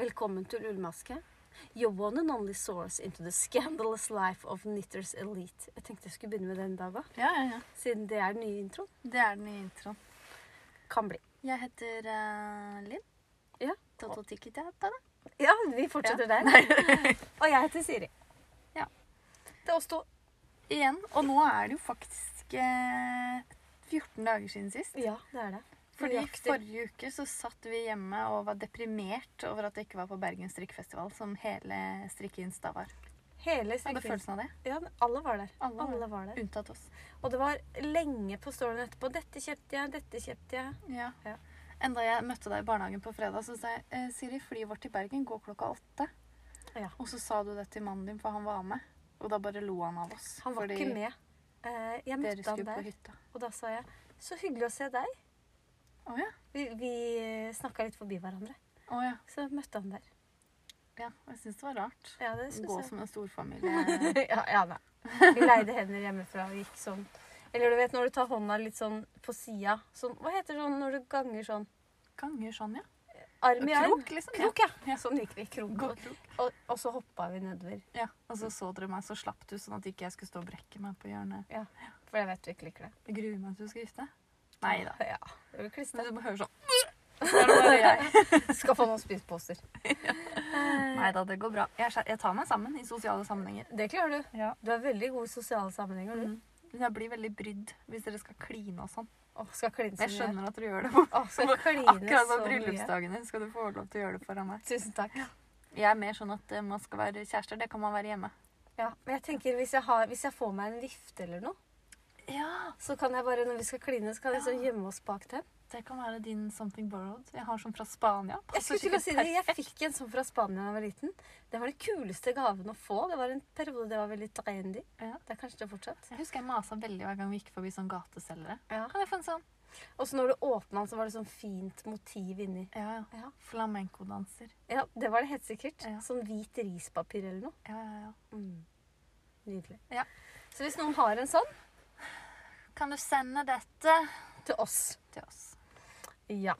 Velkommen til Ullmaske. Your one and only source into the scandalous life of Knitters Elite. Jeg tenkte jeg skulle begynne med den i dag òg, Ja, ja, ja. siden det er den nye introen. Det er den nye introen. Kan bli. Jeg heter eh, Linn. Ja. Toto Tikitata. Ja, vi fortsetter der. Og jeg heter Siri. Ja. Det er oss to. Igjen. Og nå er det jo faktisk eh, 14 dager siden sist. Ja, det er det. Fordi Nøyaktig. forrige uke så satt vi hjemme og var deprimert over at det ikke var på Bergen strikkefestival, som hele strikkeinsta var. Hele Hadde strikkefilmen. følelsen av det? Ja, alle var der. Alle var Alle var der. Unntatt oss. Og det var lenge på storyen etterpå. 'Dette kjøpte jeg, dette kjøpte jeg'. Ja. Ja. Enda jeg møtte deg i barnehagen på fredag, så sa jeg eh, Siri, flyet vårt til Bergen går klokka åtte. Ja. Og så sa du det til mannen din, for han var med. Og da bare lo han av oss. Han var fordi ikke med. Eh, Jeg Dere møtte han skulle på der, hytta. og da sa jeg 'Så hyggelig å se deg'. Å ja. Vi, vi snakka litt forbi hverandre. Å ja. Så møtte han der. ja. Jeg syns det var rart. Ja, det synes Gå jeg. som eh, en storfamilie. ja, ja, nei. Vi leide hender hjemmefra og gikk sånn. Eller du vet når du tar hånda litt sånn på sida. Sånn, hva heter det sånn når du ganger sånn? Ganger sånn, ja. Arm i arm? Krok, liksom. Krok, ja. Ja. Sånn gikk vi. Krok. Gå Og, og, og så hoppa vi nedover. Ja. Og så så dere meg så slapt ut, sånn at ikke jeg skulle stå og brekke meg på hjørnet. For jeg vet du ikke liker det. Jeg gruer meg til du skal gifte deg. Nei da. Ja, det blir klistret. Men du bare hører sånn så er det bare jeg. Skal få noen spiseposer. Nei da, det går bra. Jeg, skjer- jeg tar meg sammen i sosiale sammenhenger. Det klarer du. Ja. Du er veldig god i sosiale sammenhenger. du. Mm. Men jeg blir veldig brydd hvis dere skal kline og sånn. Åh, skal kline så Jeg mye. skjønner at dere gjør det. Åh, skal kline så Akkurat på mye. bryllupsdagen din skal du få lov til å gjøre det foran meg. Tusen takk. Jeg er mer sånn at eh, man skal være kjærester. Det kan man være hjemme. Ja, men jeg tenker hvis jeg, har, hvis jeg får meg en vifte eller noe, Ja, så kan jeg bare, når vi skal kline, så kan jeg liksom gjemme oss bak dem. Det kan være din Something Borrowed. Jeg har sånn fra Spania. Jeg skulle til å si det, jeg fikk en sånn fra Spania da jeg var liten. Det var den kuleste gaven å få. Det var en periode det var veldig trendy. Ja. Det er kanskje det fortsatt. Jeg husker jeg masa veldig hver gang vi gikk forbi sånn gateselgere. Ja. Kan jeg få en sånn? Og så når du åpna den, så var det sånn fint motiv inni. Ja, ja. Ja, Flamenco-danser. ja det var det helt sikkert. Ja. Sånn hvit rispapir eller noe. Ja, ja, ja. Mm. Nydelig. Ja. Så hvis noen har en sånn, Kan du sende dette til oss. til oss? Ja.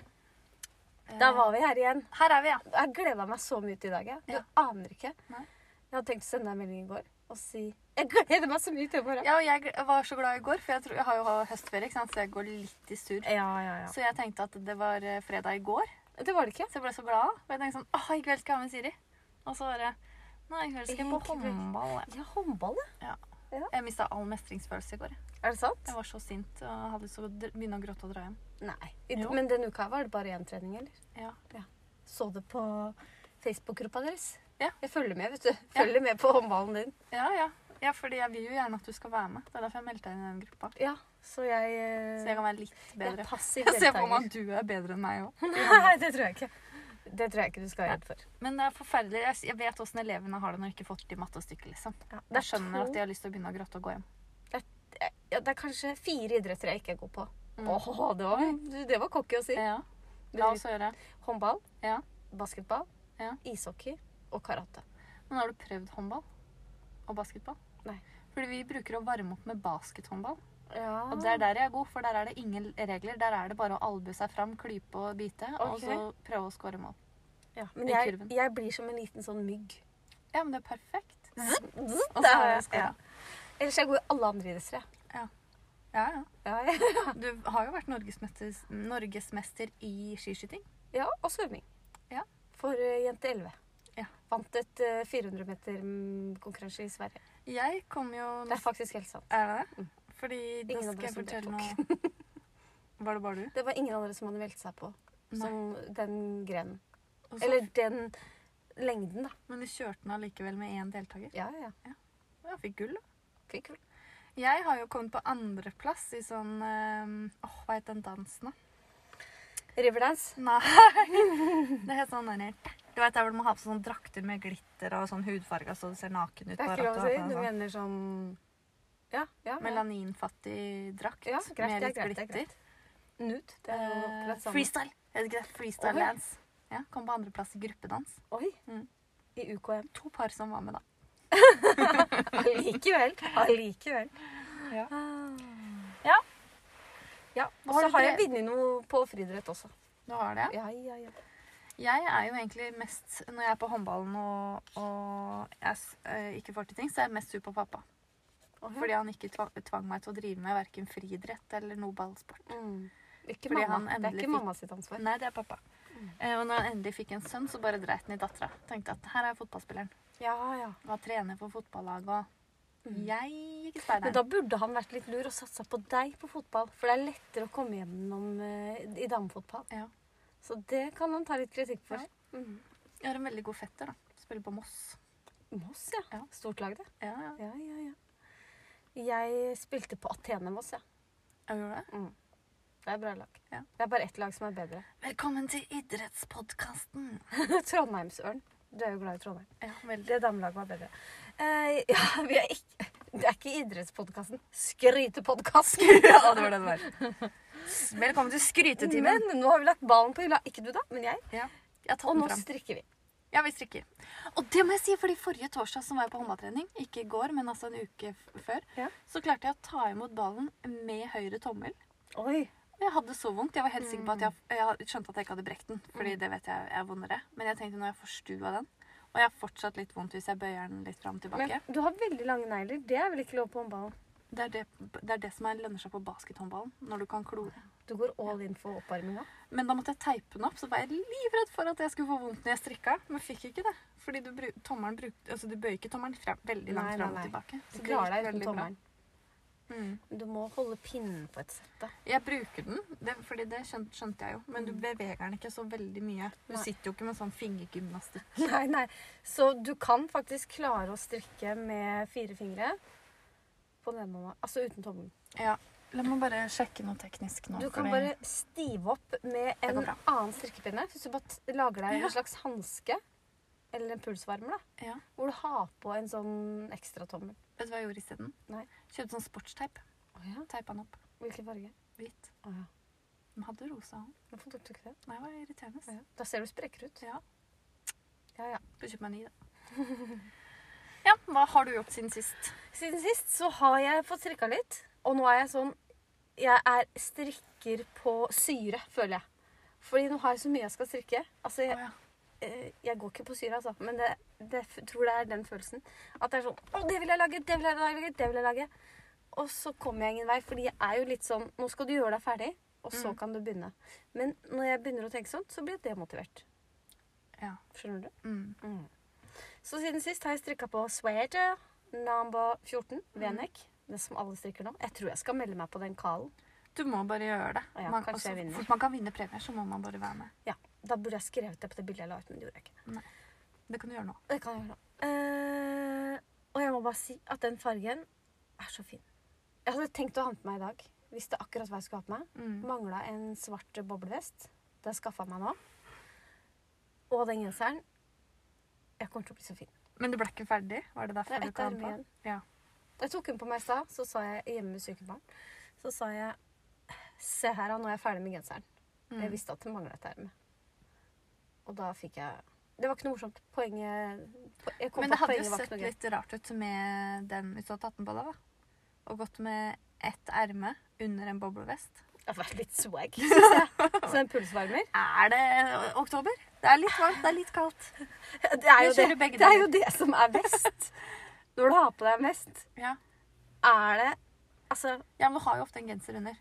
Da var vi her igjen. Eh, Her er vi, ja. Jeg gleda meg så mye til i dag. Jeg. Du Ja. aner ikke. Nei. Jeg hadde tenkt å sende deg en melding i går og si Jeg gleder meg så mye til i morgen. ja og jeg gl- var så glad i går, for jeg, tror, jeg har jo hatt høstferie, ikke sant? så jeg går litt i surr. Ja, ja, Så jeg tenkte at det var eh, fredag i går, Det var det ikke. så jeg ble så glad. Og jeg tenkte sånn Åh, i kveld skal jeg ha med Siri. Og så bare Nei, i kveld skal jeg på I kveld. håndball. jeg." Ja, håndball, ja. Jeg mista all mestringsfølelse i går. jeg. Er det sant? Jeg var så sint og hadde lyst til å dr- begynne å gråte og dra hjem. Nei. I, Jo. men denne uka her var det bare én trening, eller? Ja. Så det på Facebook-gruppa deres? Ja. Jeg følger med, vet du. Følger med på håndballen din. ja, ja. Ja, fordi jeg vil jo gjerne at du skal være med. Det er derfor jeg meldte deg inn i den gruppa. Ja, så jeg eh, Så jeg kan være litt Jeg bedre. er passiv Jeg ser på meg deltaker. at du er bedre enn meg òg. Nei, det tror jeg ikke. Det tror jeg ikke du skal være redd for. Men det er forferdelig. Jeg s- Jeg vet åssen elevene har det når de ikke får til matte og stykke, liksom. Jeg skjønner at de har lyst til å begynne å gråte og gå hjem. ja, det er kanskje fire idretter jeg ikke er god på. Mm. Åh, det var, det var cocky å si. Ja. La oss høre. Håndball, Ja. basketball, Ja. ishockey og karate. Men har du prøvd håndball? Og basketball? Nei. Fordi vi bruker å varme opp med baskethåndball. Ja. Og det er der jeg er god, for der er det ingen regler. Der er det bare å albue seg fram, klype og bite, og Ok. så prøve å score mål. Men i jeg, kurven. jeg blir som en liten sånn mygg. Ja, men det er perfekt. Og Og så så har er jeg jeg skåret. ja. Ellers er jeg god i alle andre idretter. jeg. Ja, ja. Ja, ja. Du har jo vært norgesmester, norgesmester i skiskyting. ja, og svømming. Ja. For eh, jente 11. Ja. Vant et eh, 400 meter mm, konkurranse i Sverige. Jeg kom jo Det er faktisk helt sant. Er det det? Fordi da Ingen av skal jeg dere fortelle som noe Var det bare du? Det var ingen andre som hadde meldt seg på som den grenen. Og så- Eller den lengden, da. men du kjørte den allikevel med én deltaker. Ja, ja. Ja, fikk gull, da. Fikk gull. Jeg har jo kommet på andreplass i sånn eh, Åh, hva het den dansen, da? Riverdance. Nei. Det heter sånn der Du vet der hvor du må ha på sånne drakter med glitter og sånn hudfarga så du ser naken ut. Det er på ikke lov å rattet si. og Du sånn. mener sånn Ja. ja, ja. Melaninfattig drakt ja greit, med det er greit. litt Det er glitter. greit. Nude. Det er jo Eh, akkurat samme. freestyle. Heter ikke det? Freestyle Oi. dance. Ja, kom på andreplass i gruppedans. Oi. Mm. I UKM. To par som var med, da. Allikevel. Allikevel. Ja. Ah. Ja. Ja, Og Har så du har jeg drevet- vunnet noe på friidrett også. Du har det? Ja, ja, ja. Jeg er jo egentlig mest Når jeg er på håndballen og, og jeg s- eh, ikke får til ting, så er jeg mest sur på pappa. Og hun- Fordi han ikke tvang, tvang meg til å drive med verken friidrett eller noe ballsport. Mm. Ikke Fordi han mamma. Det er endelig ikke fikk- mamma sitt ansvar. Nei, det er pappa. Mm. Eh, Og når han endelig fikk en sønn, så bare dreit han i dattera. Tenkte at her er fotballspilleren. Ja, ja. Var trener for fotballaget og Mm. Jeg gikk i Men speideren. da burde han vært litt lur og satsa på deg på fotball. For det er lettere å komme gjennom eh, i damefotball. Ja. Så det kan han ta litt kritikk for. Ja. Mm. Jeg har en veldig god fetter, da. Spiller på Moss. Moss, ja. Ja. Stort lag, det. Ja, ja. Ja, ja, ja. Jeg spilte på Athene Moss, ja. Jeg gjorde det. Mm. Det er bra lag. Ja. Det er bare ett lag som er bedre. Velkommen til idrettspodkasten. Trondheimsørn. Du er jo glad i Trondheim. Ja, veldig. Det damelaget var bedre. Eh, ja, vi er ikke Det er ikke idrettspodkasten. Skrytepodkast. Ja, det var det det var. Velkommen til skrytetimen. Men nå har vi lagt ballen på hylla. Ikke du, da, men jeg. Ja, jeg har tatt Og den nå fram. strikker vi. Ja, vi strikker. Og det må jeg si, fordi forrige torsdag som var jeg på håndballtrening, ikke i går, men altså en uke f- før, Ja. så klarte jeg å ta imot ballen med høyre tommel. Oi. Og Jeg hadde så vondt. Jeg var helt sikker på at jeg, Mm. jeg skjønte at jeg ikke hadde brekt den. Fordi det vet jeg er vondere. Men jeg tenkte når jeg får stu av den Og jeg har fortsatt litt vondt hvis jeg bøyer den litt fram og tilbake. Men du har veldig lange negler. Det er vel ikke lov på håndballen? Det, er det, det er det som er lønner seg på baskethåndballen. Når du kan klore. Du går all in for oppvarminga. Men da måtte jeg teipe den opp, så var jeg livredd for at jeg skulle få vondt når jeg strikka. Men fikk ikke det. Fordi du, bru- tommelen bruk- altså, du bøyer ikke tommelen frem, Nei, veldig nei, langt fram og nei. tilbake. Du det klarer gikk deg uten veldig bra. tommelen. Mm. Du må holde pinnen på et sett, da. Jeg bruker den, det, fordi det skjønte, skjønte jeg jo. Men du beveger den ikke så veldig mye. Du Mm. Nei. sitter jo ikke med sånn fingergymnastikk. Nei, nei. Så du kan faktisk klare å strikke med fire fingre på den ene hånda. Altså uten tommelen. Ja. La meg bare sjekke noe teknisk nå. Du kan fordi- bare stive opp med går en bra. annen strikkepinne. Hvis du bare t- lager deg Ja. en slags hanske eller en pulsvarmer, da, ja. hvor du har på en sånn ekstra tommel. Vet du hva jeg gjorde isteden? Nei. Kjøpte sånn sportsteip. Å ja. Teipa den opp. Hvilken farge? Hvit. Å ja. Den hadde rosa hånd. Hvorfor tok du ikke det? Nei, det var irriterende. Å ja. Da ser du sprekker ut. Ja. Ja, ja. Får kjøpe meg en ny, da. ja, hva har du gjort siden sist? Siden sist så har jeg fått strikka litt. Og nå er jeg sånn Jeg er strikker på syre, føler jeg. Fordi nå har jeg så mye jeg skal strikke. Altså, jeg, Å, ja. eh, jeg går ikke på syre, altså. Men det, det f- tror det er den følelsen. At det er sånn Å, det vil jeg lage! Det vil jeg lage! Det vil jeg lage! Og så kommer jeg ingen vei, fordi jeg er jo litt sånn Nå skal du gjøre deg ferdig, og så Mm. kan du begynne. Men når jeg begynner å tenke sånn, så blir jeg demotivert. Ja. Skjønner du? Mm. Så siden sist har jeg strikka på sweater number 14, Venek. Det som alle strikker nå. Jeg tror jeg skal melde meg på den kallen. Du må bare gjøre det. Ja, kanskje jeg vinner. Fort man kan vinne premier, så må man bare være med. Ja, Da burde jeg skrevet det på det bildet jeg la ut, men det gjorde jeg ikke. Det kan du gjøre nå. Det kan jeg gjøre nå. Eh, og jeg må bare si at den fargen er så fin. Jeg hadde tenkt å ha den på meg i dag. Visste akkurat hva jeg skulle ha på meg. Mm. Mangla en svart boblevest. Det har jeg skaffa meg nå. Og den genseren. Jeg kommer til å bli så fin. Men du ble ikke ferdig? Var det derfor Det er du ikke ett hadde arm på? igjen. Ja. Jeg tok den på meg i stad, så sa jeg hjemme med syke barn. Så sa jeg Se her, da. Nå er jeg ferdig med genseren. Mm. Jeg visste at det mangla et erme. Og da fikk jeg Det var ikke noe morsomt. Poenget po- Jeg kom på Men det at hadde jo poenget var sett ikke noe gøy. litt rart ut med den hvis du hadde tatt den på deg, da. Og gått med ett erme under en boblevest. Det var litt swag, syns jeg. Så en pulsvarmer. Er det oktober? Det er litt varmt, det er litt kaldt. Det er jo Vi det, kjører begge det, er deler. jo det som er best. Når du har på deg en vest, Ja. er det Altså, ja, men du har jo ofte en genser under.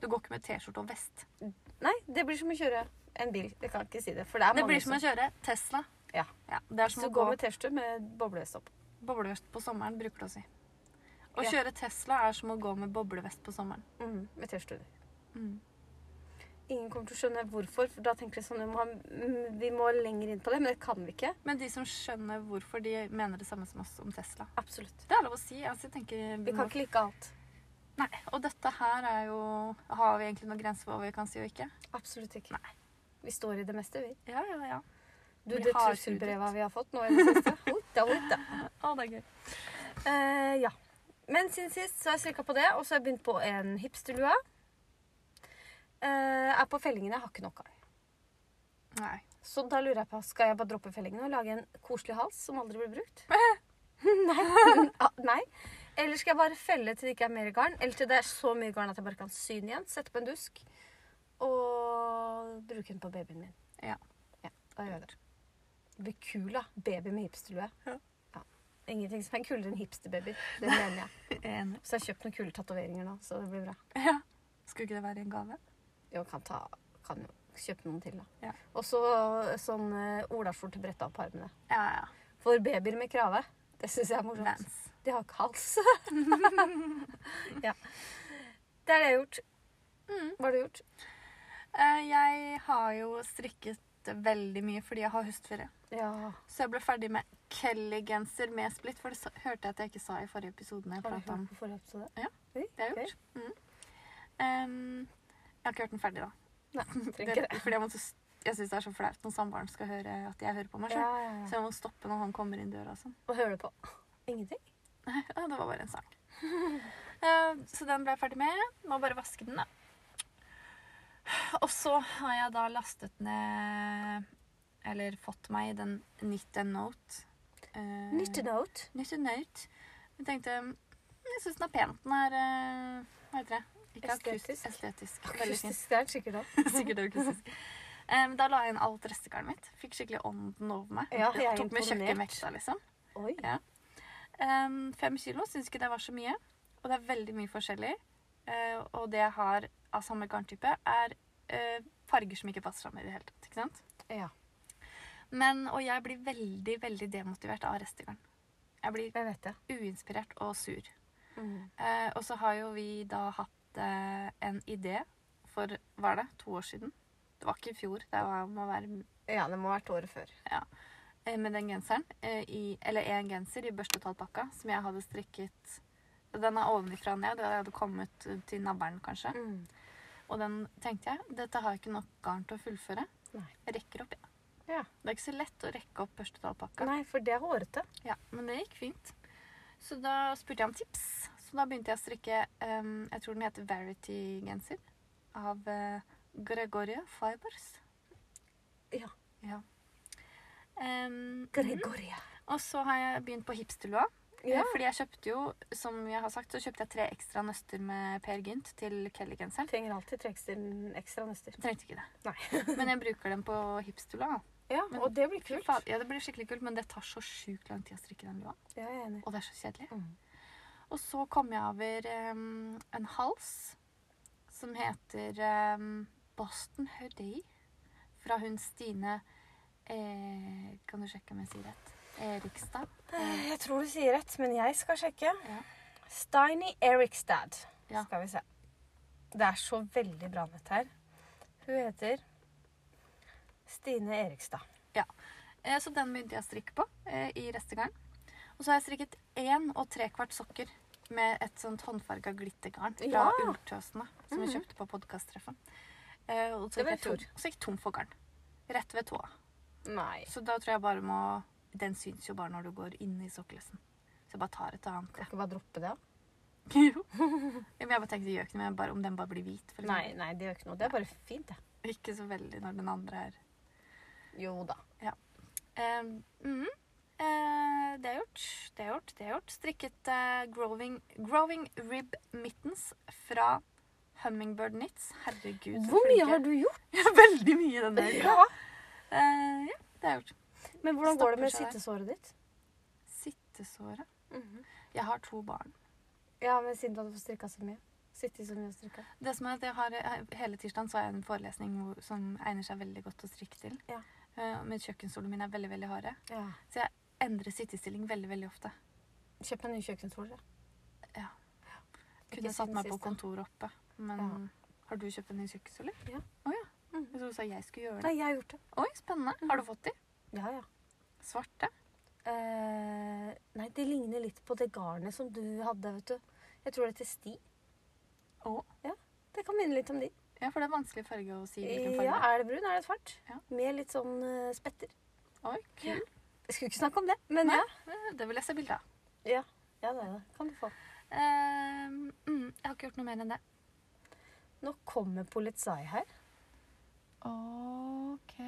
Du går ikke med T-skjorte og vest. nei, det blir som å kjøre en bil. Jeg kan ikke si det. For det er Det mange blir som å kjøre Tesla. Ja. Ja, det er Hvis som du å gå går med T-skjorte med boblevest opp. boblevest på sommeren, bruker det å si. Å Ja. kjøre Tesla er som å gå med boblevest på sommeren. Mm, med T-skjorte under. Mm. Ingen kommer til å skjønne hvorfor, for da tenker de sånn vi må, ha- mm, vi må lenger inn på det, men det kan vi ikke. Men de som skjønner hvorfor, de mener det samme som oss om Tesla. Absolutt. Det er lov å si. Altså, jeg tenker Vi kan ikke like alt. Nei, og dette her er jo Har vi egentlig noen grenser for hva vi kan si og ikke? Absolutt ikke. Vi står i det meste, vi. Ja, ja, ja. Du, Vi det har trusselbrevet vi har fått nå i det siste. Hoita, hoita. Å, det er gøy. Eh, ja. Men siden sist så har jeg strikka på det, og så har jeg begynt på en hipsterlue. Eh, er på fellingene, jeg har ikke nok av. Nei. Så da lurer jeg på, skal jeg bare droppe fellingene og lage en koselig hals som aldri blir brukt? nei. Ah, nei. Eller skal jeg bare felle til det ikke er mer garn? Eller til det er så mye garn at jeg bare kan sy den igjen, sette på en dusk og bruke bruke den på babyen min. Ja. ja da gjør jeg det. Det blir kul, da. Baby med hipsterlue. Ja. Ja. Ingenting som er kulere enn hipsterbabyer. Det mener jeg. Enig. Så jeg har kjøpt noen kule tatoveringer nå, så det blir bra. Ja. Skulle ikke det være en gave? Jo, kan, ta, kan jo kjøpe noen til, da. Ja. Og så sånn uh, olaskjorte bretta opp på armene. Ja, ja. For babyer med krave. Det syns jeg er morsomt. Vans. De har ikke hals. ja. Det er det jeg har gjort. Mm. Hva har du gjort? Eh, Jeg har jo strikket veldig mye fordi jeg har høstferie. Ja. Så jeg ble ferdig med Kelly-genser med splitt, for det sa- hørte jeg at jeg ikke sa i forrige episode. når jeg Har du pratet om. hørt på forrige episode? Ja, Oi, Det har jeg ok. gjort. Mm. Em, jeg har ikke hørt den ferdig, da. Nei, trenger Det, ikke det. fordi jeg, måtte, s- jeg syns det er så flaut når samboeren skal høre at jeg hører på meg sjøl. Ja, ja, Så ja. jeg må stoppe når han kommer inn døra og sånn. Hva hører du på? Ingenting? Eh, Ja, det var bare en sang. Eh, så den ble jeg ferdig med. Må bare vaske den, da. Og så har jeg da lastet ned Eller fått meg den Knit and Note. Eh, Nytt note. Nytt and Note. Jeg tenkte mm, Jeg syns den er pen. Den er eh, Hva heter det? Ikke Estetisk. estetisk. estetisk. Veldig fin. Akustisk, det er den sikkert da. Sikkert akustisk. Eh, men da la jeg inn alt restegarnet mitt. Fikk skikkelig ånden over meg. Ja, jeg er tok med imponert. kjøkkenvekta, liksom. Oi. Ja. Um, fem kilo syns ikke det var så mye. Og det er veldig mye forskjellig. Eh, og det jeg har av samme garntype, er eh, farger som ikke passer sammen i det hele tatt. ikke sant? Ja. Men, og jeg blir veldig veldig demotivert av restegarn. Jeg blir Jeg vet det. uinspirert og sur. Mm. Eh, og så har jo vi da hatt eh, en idé for hva er det, to år siden. Det var ikke i fjor, det var, må være Ja, det må ha vært året før. eh, med den genseren, eh, i, eller en genser i børstetallpakka, som jeg hadde strikket. Den er ovenifra og ned, og jeg hadde kommet til nabberen, kanskje. Mm. Og den tenkte jeg, dette har jeg ikke nok garn til å fullføre. Nei. Jeg rekker opp, jeg. Ja. Det er ikke så lett å rekke opp børstetallpakka. Nei, for det er hårete. Ja, men det gikk fint. Så da spurte jeg om tips. Så da begynte jeg å strikke, em, jeg tror den heter Verity-genser, av eh, Gregoria Fibers. Ja. Ja. Em, Gregoria. og så har jeg begynt på hipsterlua. Ja. Eh, Fordi jeg kjøpte jo, som jeg har sagt, så kjøpte jeg tre ekstra nøster med Per Gynt til Kelly-genseren. Trenger alltid trekkst en ekstra nøster. Jeg Trengte ikke det. Nei. Men jeg bruker dem på hipsterlua. Ja, Men- og det blir Fy kult. faen, Ja, det blir skikkelig kult, men det tar så sjukt lang tid å strikke den lua. Ja, jeg er enig. Og det er så kjedelig. Mm. Og så kom jeg over em, en hals som heter em, Boston Hoodie. Fra hun Stine eh, Kan du sjekke om jeg sier rett? Erikstad. Eh, Jeg tror du sier rett, men jeg skal sjekke. Ja. Steiny Erikstad. Ja. Skal vi se. Det er så veldig bra nett her. Hun heter Stine Erikstad. Eh, Så den begynte jeg å strikke på eh, i restegarn. Og så har jeg strikket én og tre kvart sokker med et sånt håndfarga glittergarn fra Ja. Mm. Ulltøsene, som jeg kjøpte på podkasttreffen. Eh, Og så Det var gikk jeg i fjor. tom- så gikk jeg tom for garn. Rett ved tåa. Nei. Så da tror jeg bare må Den syns jo bare når du går inn i sokkelesten. Så jeg bare tar et annet. Kan ikke bare droppe det? da? Jo. Ja, men Jeg bare tenkte det gjør ikke noe men bare om den bare blir hvit. For Nei, nei, det gjør ikke noe. Det er bare fint, det. eksempel. Ikke så veldig når den andre er Jo da. Eh, mm, eh, det er gjort, det er gjort, det er gjort. Strikket eh, growing, growing Rib Mittens fra Hummingbird Knits. Herregud, så Hvor mye flinke. har du gjort? Ja, veldig mye denne uka. Ja. Eh, ja, det er gjort. Men hvordan går det med Stopper seg der. sittesåret ditt? Sittesåret. Mhm. Jeg har to barn. Ja, men siden du hadde fått strikka så mye. Sittet så mye og strikka. Det som er at jeg har, eh, Hele tirsdagen så har jeg en forelesning hvor, som egner seg veldig godt å strikke til. Ja. Eh, men kjøkkenstolene mine er veldig veldig harde. Ja. Så jeg endrer sittestilling veldig veldig ofte. Kjøp deg nye kjøkkenstoler. da. Ja. Ikke Kunne satt siden meg på sist, da. kontoret oppe. Men Ja. har du kjøpt en ny kjøkkenstol? eller? Ja. Å ja. Mhm. Jeg trodde du sa jeg skulle gjøre det. Nei, Mhm. jeg har gjort det. Oi, spennende. Har du fått de? Ja, ja. Svarte? Eh, nei, det ligner litt på det garnet som du hadde, vet du. Jeg tror det heter sti. Å. Det kan minne litt om de. Ja, for det er vanskelig farge å si hvilken Ja, farge. Er det brun, er det svart? Ja. Med litt sånn eh, spetter. Oi, kul. Jeg skulle ikke snakke om det, men Nei. ja. Eh, Det vil jeg se bilde av. ja. Ja, det er det. Kan du få. Eh, mm, jeg har ikke gjort noe mer enn det. Nå kommer Polizei her, Ok.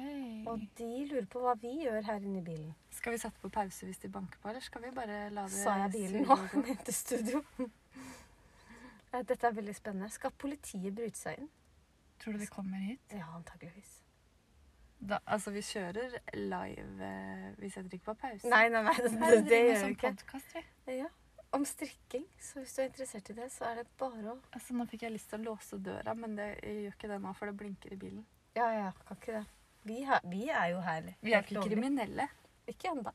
og de lurer på hva vi gjør her inne i bilen. Skal vi sette på pause hvis de banker på, eller skal vi bare la det Sa jeg bilen nå? surre og gå? Mente studio. Eh, Nei, Dette er veldig spennende. Skal politiet bryte seg inn? Tror du de kommer hit? Ja, antageligvis. da, altså, vi kjører live eh, Vi setter ikke på pause. Nei, nei, nei, det, Her det, det driver vi gjør som vi ikke. podcast, vi. Ja. Om strikking, så hvis du er interessert i det, så er det bare å Altså, nå fikk jeg lyst til å låse døra, men det, jeg gjør ikke det nå, for det blinker i bilen. Ja, ja, kan ikke det. Vi, har, vi er jo her. Vi er helt ikke lovlig. kriminelle. Ikke ennå.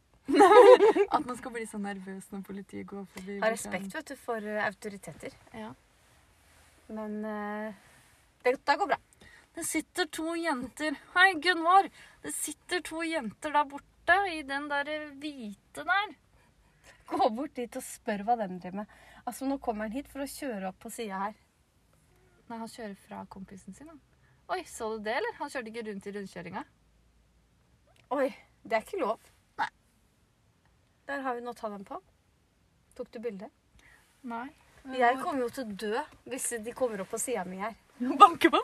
At man skal bli så nervøs når politiet går forbi. Har respekt vet du, for eh, autoriteter. Ja. Men eh, det, det går bra. Det sitter to jenter Hei, Gunvor! Det sitter to jenter der borte i den der hvite der. Gå bort dit og spør hva de driver med. Altså, Nå kommer han hit for å kjøre opp på sida her. Nei, han kjører fra kompisen sin. han. Oi, så du det, eller? Han kjørte ikke rundt i rundkjøringa. Oi, det er ikke lov. Nei. Der har vi nå ta dem på. Tok du bilde? Nei. Jeg kommer jo til å dø hvis de kommer opp på sida mi her. banker på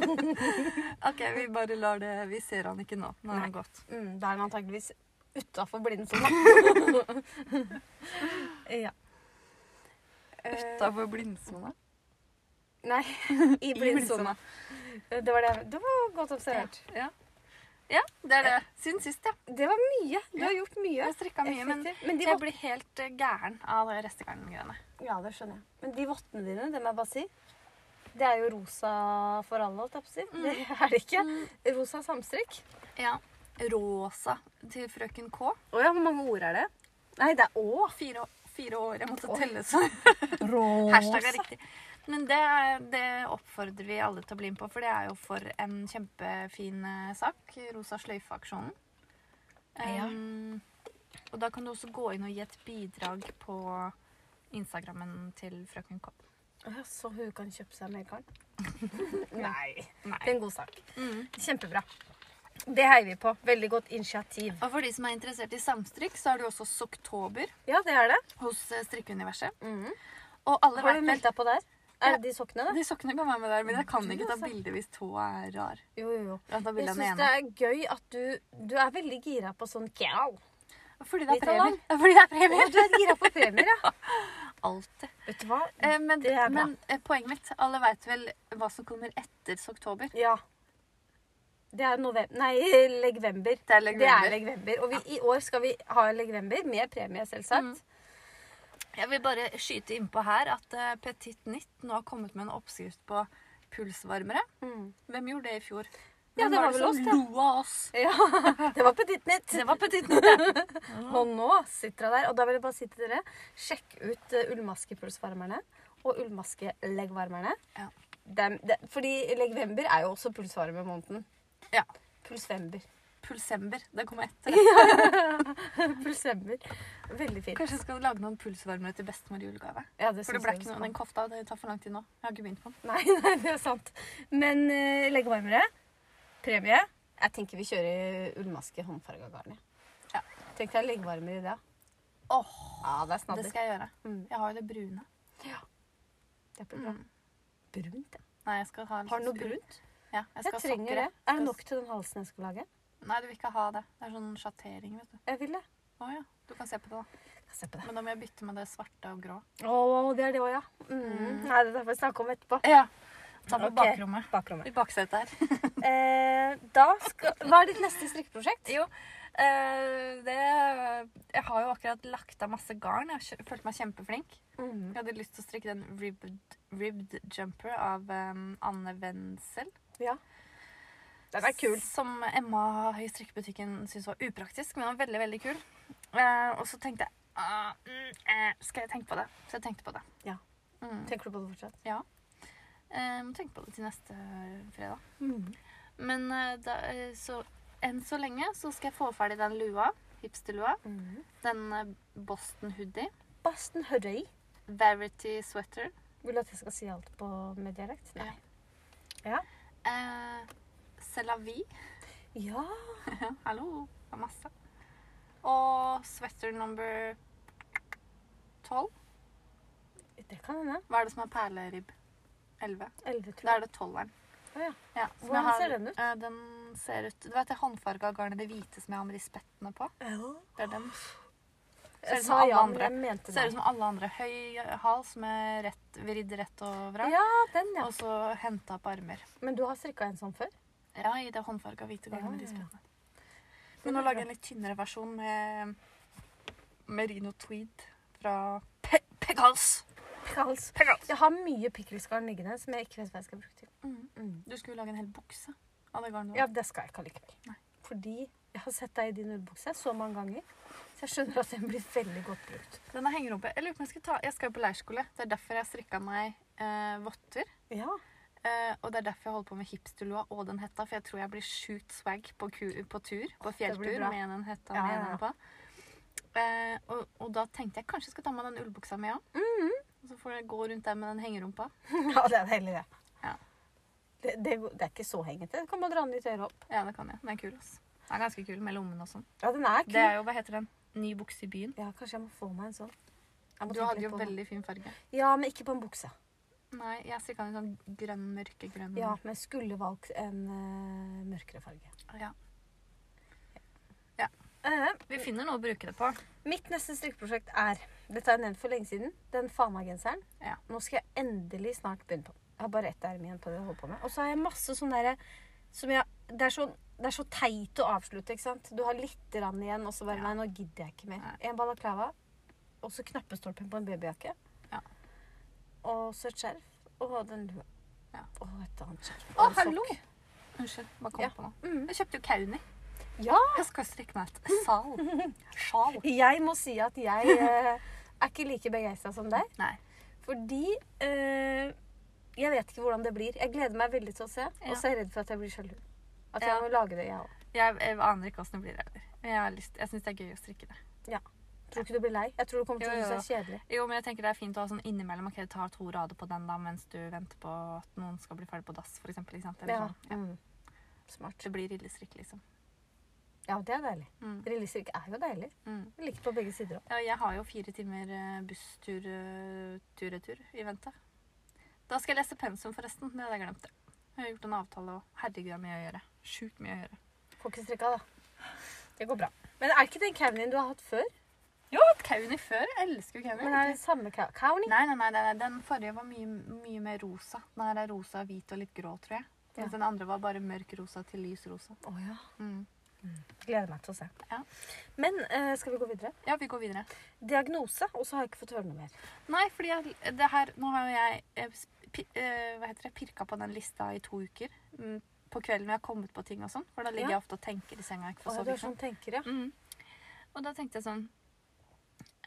OK, vi bare lar det Vi ser han ikke nå. Nå er han gått. Mm, da er han antakeligvis utafor blindsona. ja. Eh, Utafor blindsona. nei, i blindsona. Det var det. Det var godt observert. Ja. ja, det er det. Siden sist, ja. Det var mye. Du har gjort mye. Jeg strikka mye, men Effektivt. Men de jeg våt- blir helt eh, gæren av det restegarngreiene. Ja, det skjønner jeg. Men de vottene dine, det må jeg bare si. Det er jo rosa for alle, holdt jeg på å si. Det er det ikke. Rosa samstrikk. Ja. Rosa til frøken K. Å ja, hvor mange ord er det? Nei, det er Å. Fire, fire år. Jeg måtte Oi. telle, så Rosa. hashtag er riktig. Men det, er- det oppfordrer vi alle til å bli med på, for det er jo for en kjempefin eh, sak. Rosa sløyfe-aksjonen. Ja. Em, og da kan du også gå inn og gi et bidrag på Instagrammen til frøken K. Ja, så hun kan kjøpe seg mer garn. Nei. Det Nei. er en god sak. Kjempebra. Det heier vi på. Veldig godt initiativ. Og for de som er interessert i samstrikk, så har du også Soktober Ja, det er det. hos eh, Strikkeuniverset. Og Mm. alle Har vet du vel meldt deg på der? Er det de sokkene, da? De sokkene kan være med der, men jeg kan ikke ta altså. bilde hvis tåa er rar. Jo, jo, jo. Jeg tar Jeg bilde av den syns ene. det er gøy at du Du er veldig gira på sånn kjau. Fordi det er Litt av premier. Ja, Fordi det er Du premier. er gira på premier, ja. Alltid. Vet du hva? Eh, men Det er bra. men eh, poenget mitt Alle veit vel hva som kommer etter oktober? Ja. Det er november Nei, legvember. Det er Det er legvember. Og vi, i år skal vi ha legvember med premie, selvsagt. Jeg vil bare skyte innpå her at eh, Petit Nytt nå har kommet med en oppskrift på pulsvarmere. Mm. Hvem gjorde det i fjor? Ja, Hvem det var vel oss, det. som lo av oss. Ja, det var Petit Nytt. Det var Petit Nytt, det. Og nå sitter hun der. Og da vil jeg bare si til dere, sjekk ut eh, ullmaskepulsvarmerne og ullmaskelegvarmerne. Ja. Dem- de, fordi legvember er jo også pulsvarmemåneden. Ja. Pulsvember. Pulsember. Det kommer etter. det. Pulsvember. Veldig fint. Kanskje jeg skal lage noen pulsvarmere til bestemor i julegave. Ja, det For syns det ble jeg vi ikke skal. noe, den kofta det tar for lang tid nå. Jeg har ikke begynt på den. Nei, nei, det er sant. Men uh, leggevarmere, premie. Jeg tenker vi kjører ullmaske håndfarga garn. Ja. Tenk deg leggevarmer i det. Åh, Ja, det er Det snadder. skal jeg gjøre. Mm. Jeg har jo det brune. Det blir bra. Mm. Brunt, ja. Nei, jeg skal ha en Har du sånn noe ul- brunt? Ja, jeg skal Jeg ha trenger det. sokker. Er det nok til den halsen jeg skal lage? Nei, du vil ikke ha det. Det er sånn sjattering, vet du. Jeg vil det. Å ja. Du kan se på det, da. Jeg skal se på det. Men da må jeg bytte med det svarte og grå. Å, det er det òg, ja. Mm. Nei, det får vi snakke om etterpå. Ja. Ta på Ok. bakrommet. Bakrommet. I baksetet her. Eh, da skal, hva er ditt neste strikkeprosjekt? jo, eh, det Jeg har jo akkurat lagt av masse garn. Jeg kjø- følte meg kjempeflink. Mm. Jeg hadde lyst til å strikke den ribbed, ribbed jumper av eh, Anne Wenzel. Ja. Den er kul. Som Emma i strikkebutikken syntes var upraktisk, men den var veldig, veldig kul. Eh, og så tenkte jeg ah, mm, eh, Skal jeg tenke på det? Så jeg tenkte på det. Ja. Mm. Tenker du på det fortsatt? Eh, må tenke på det til neste fredag. Mm. Men eh, da, eh, så, enn så lenge så skal jeg få ferdig den lua. Hipsterlua. Mm. Den eh, Boston hoodie. Basten Hurray. Verity sweater. Vil du at jeg skal si alt på med dialekt? Nei. Ja. Eh, C'est la vie. Ja. Hallo. Det er masse. Og sweater number tolv. Det kan hende. Hva er det som er perleribb? Elleve. Elleve, Da tror jeg. er det tolveren. Å ja. som Hvordan jeg har- ser den ut? Eh, den ser ut Du vet det håndfarga garnet, det hvite som jeg har med rispettene på? Det er den. Ser Jeg ut som sa alle ja, men andre. jeg mente Ser ut nei. som alle andre. Høy hals med rett, vridd rett og vrang. Ja, den, ja. Og så henta på armer. Men du har strikka en sånn før? Ja, i det håndfarga hvite Ja, gangen med de ja, ja. spettene. Men nå lager jeg en litt tynnere versjon med merino tweed fra Pe Pegas. Pickles. Pegas. Jeg har mye pickelsgarn liggende som jeg ikke vet hva jeg skal bruke til. Mm. Mm. Du skulle jo lage en hel bukse av det garnet. Ja, det skal jeg ikke allikevel. Nei. Fordi jeg har sett deg i din ullbukse så mange ganger, så jeg skjønner at den blir veldig godt brukt. Denne henger oppe. Jeg, lurer på om jeg, skal ta, jeg skal jo på leirskole. Det er derfor jeg strikka meg eh, votter. Ja. Eh, og det er derfor jeg holder på med hipsterlua og den hetta. For jeg tror jeg blir sjukt swag på, ku, på tur. På blir fjelltur bra. med den hetta Ja, med ja, ja. den på. Eh, og, og da tenkte jeg kanskje jeg skal ta med den ullbuksa mi òg. Og så får jeg gå rundt der med den hengerumpa. ja, det er heller det. Ja. Det, det. går- det er ikke så hengete. Du kan bare dra den litt høyere opp. Ja, det kan jeg. Den er kul. ass. Den er ganske kul med lommene og sånn. Ja, den er kul. Det er jo, hva heter den? Ny bukse i byen. Ja, kanskje jeg må få meg en sånn. Jeg må Du tenke hadde litt jo på det. veldig fin farge. Ja, men ikke på en bukse. Nei, jeg strikka den i sånn grønn, mørkegrønn. Ja, men jeg skulle valgt en eh, mørkere farge. ja. Eh, Vi finner noe å bruke det på. mitt neste strikkeprosjekt er Dette har jeg nevnt for lenge siden. Den Fana-genseren. Ja. Nå skal jeg endelig snart begynne på den. Jeg har bare ett erme igjen på det jeg holder på med. Og så har jeg masse sånn derre som jeg det er, så, det er så teit å avslutte, ikke sant? Du har litt rann igjen, og så bare Ja. Nei, nå gidder jeg ikke mer. Nei. En balaklava, og så knappestolpen på en babyjakke. Ja. Og så et skjerf. Og den lua. Ja. Og et annet skjerf. Å, Og en sokk. hallo! Unnskyld, bare kom Ja. på noe. Mm. Jeg kjøpte jo Kauni. Ja! Jeg skal strikke meg et sal. Sjal. Jeg må si at jeg eh, er ikke like begeistra som deg. Nei. Fordi eh, jeg vet ikke hvordan det blir. Jeg gleder meg veldig til å se, og så er jeg redd for at jeg blir sjalu. At jeg Ja. må lage det, jeg òg. Jeg, jeg aner ikke åssen det blir heller. Men jeg, har lyst- jeg syns det er gøy å strikke det. Tror ikke du blir lei. Jeg tror du kommer til Jo, å jo, synes det er kjedelig. Jo, men jeg tenker det er fint å ha sånn innimellom. Ok, du tar to rader på den da, mens du venter på at noen skal bli ferdig på dass, for eksempel. Ikke sant? Eller Ja. sånn. Mm. Smart. Det blir illestrikk, liksom. Ja, det er deilig. Mm. Rillestrikk er jo deilig. Mm. Det ligger på begge sider òg. Ja, jeg har jo fire timer eh, busstur eh, tur-retur i vente. Da skal jeg lese pensum, forresten. Det hadde jeg glemt. det. Jeg har gjort en avtale, og herregud, det er mye å gjøre. Sjukt mye å gjøre. Får ikke strikka, da. Det går bra. Men er ikke den caunien du har hatt før? Jo, jeg har hatt Kauni før. Jeg elsker jo Kauni. Men er det samme ca- cownie? Nei, nei, nei, nei, nei, den forrige var mye, mye mer rosa. Den her er rosa, hvit og litt grå, tror jeg. Mens Ja. den andre var bare mørk rosa til lys rosa. Å ja. Mm. Gleder meg til å se. Ja. Men eh, skal vi gå videre? Ja, vi går videre. Diagnose, og så har jeg ikke fått høre noe mer. Nei, fordi jeg, det her, nå har jo jeg eh, sp- pi, eh, hva heter det, pirka på den lista i to uker. Mm, på kvelden når jeg har kommet på ting og sånn. For da ligger Ja. jeg ofte og tenker i senga. ikke Å, får ja, sove. du er ikke sant? sånn tenker, ja. Mm. Og da tenkte jeg sånn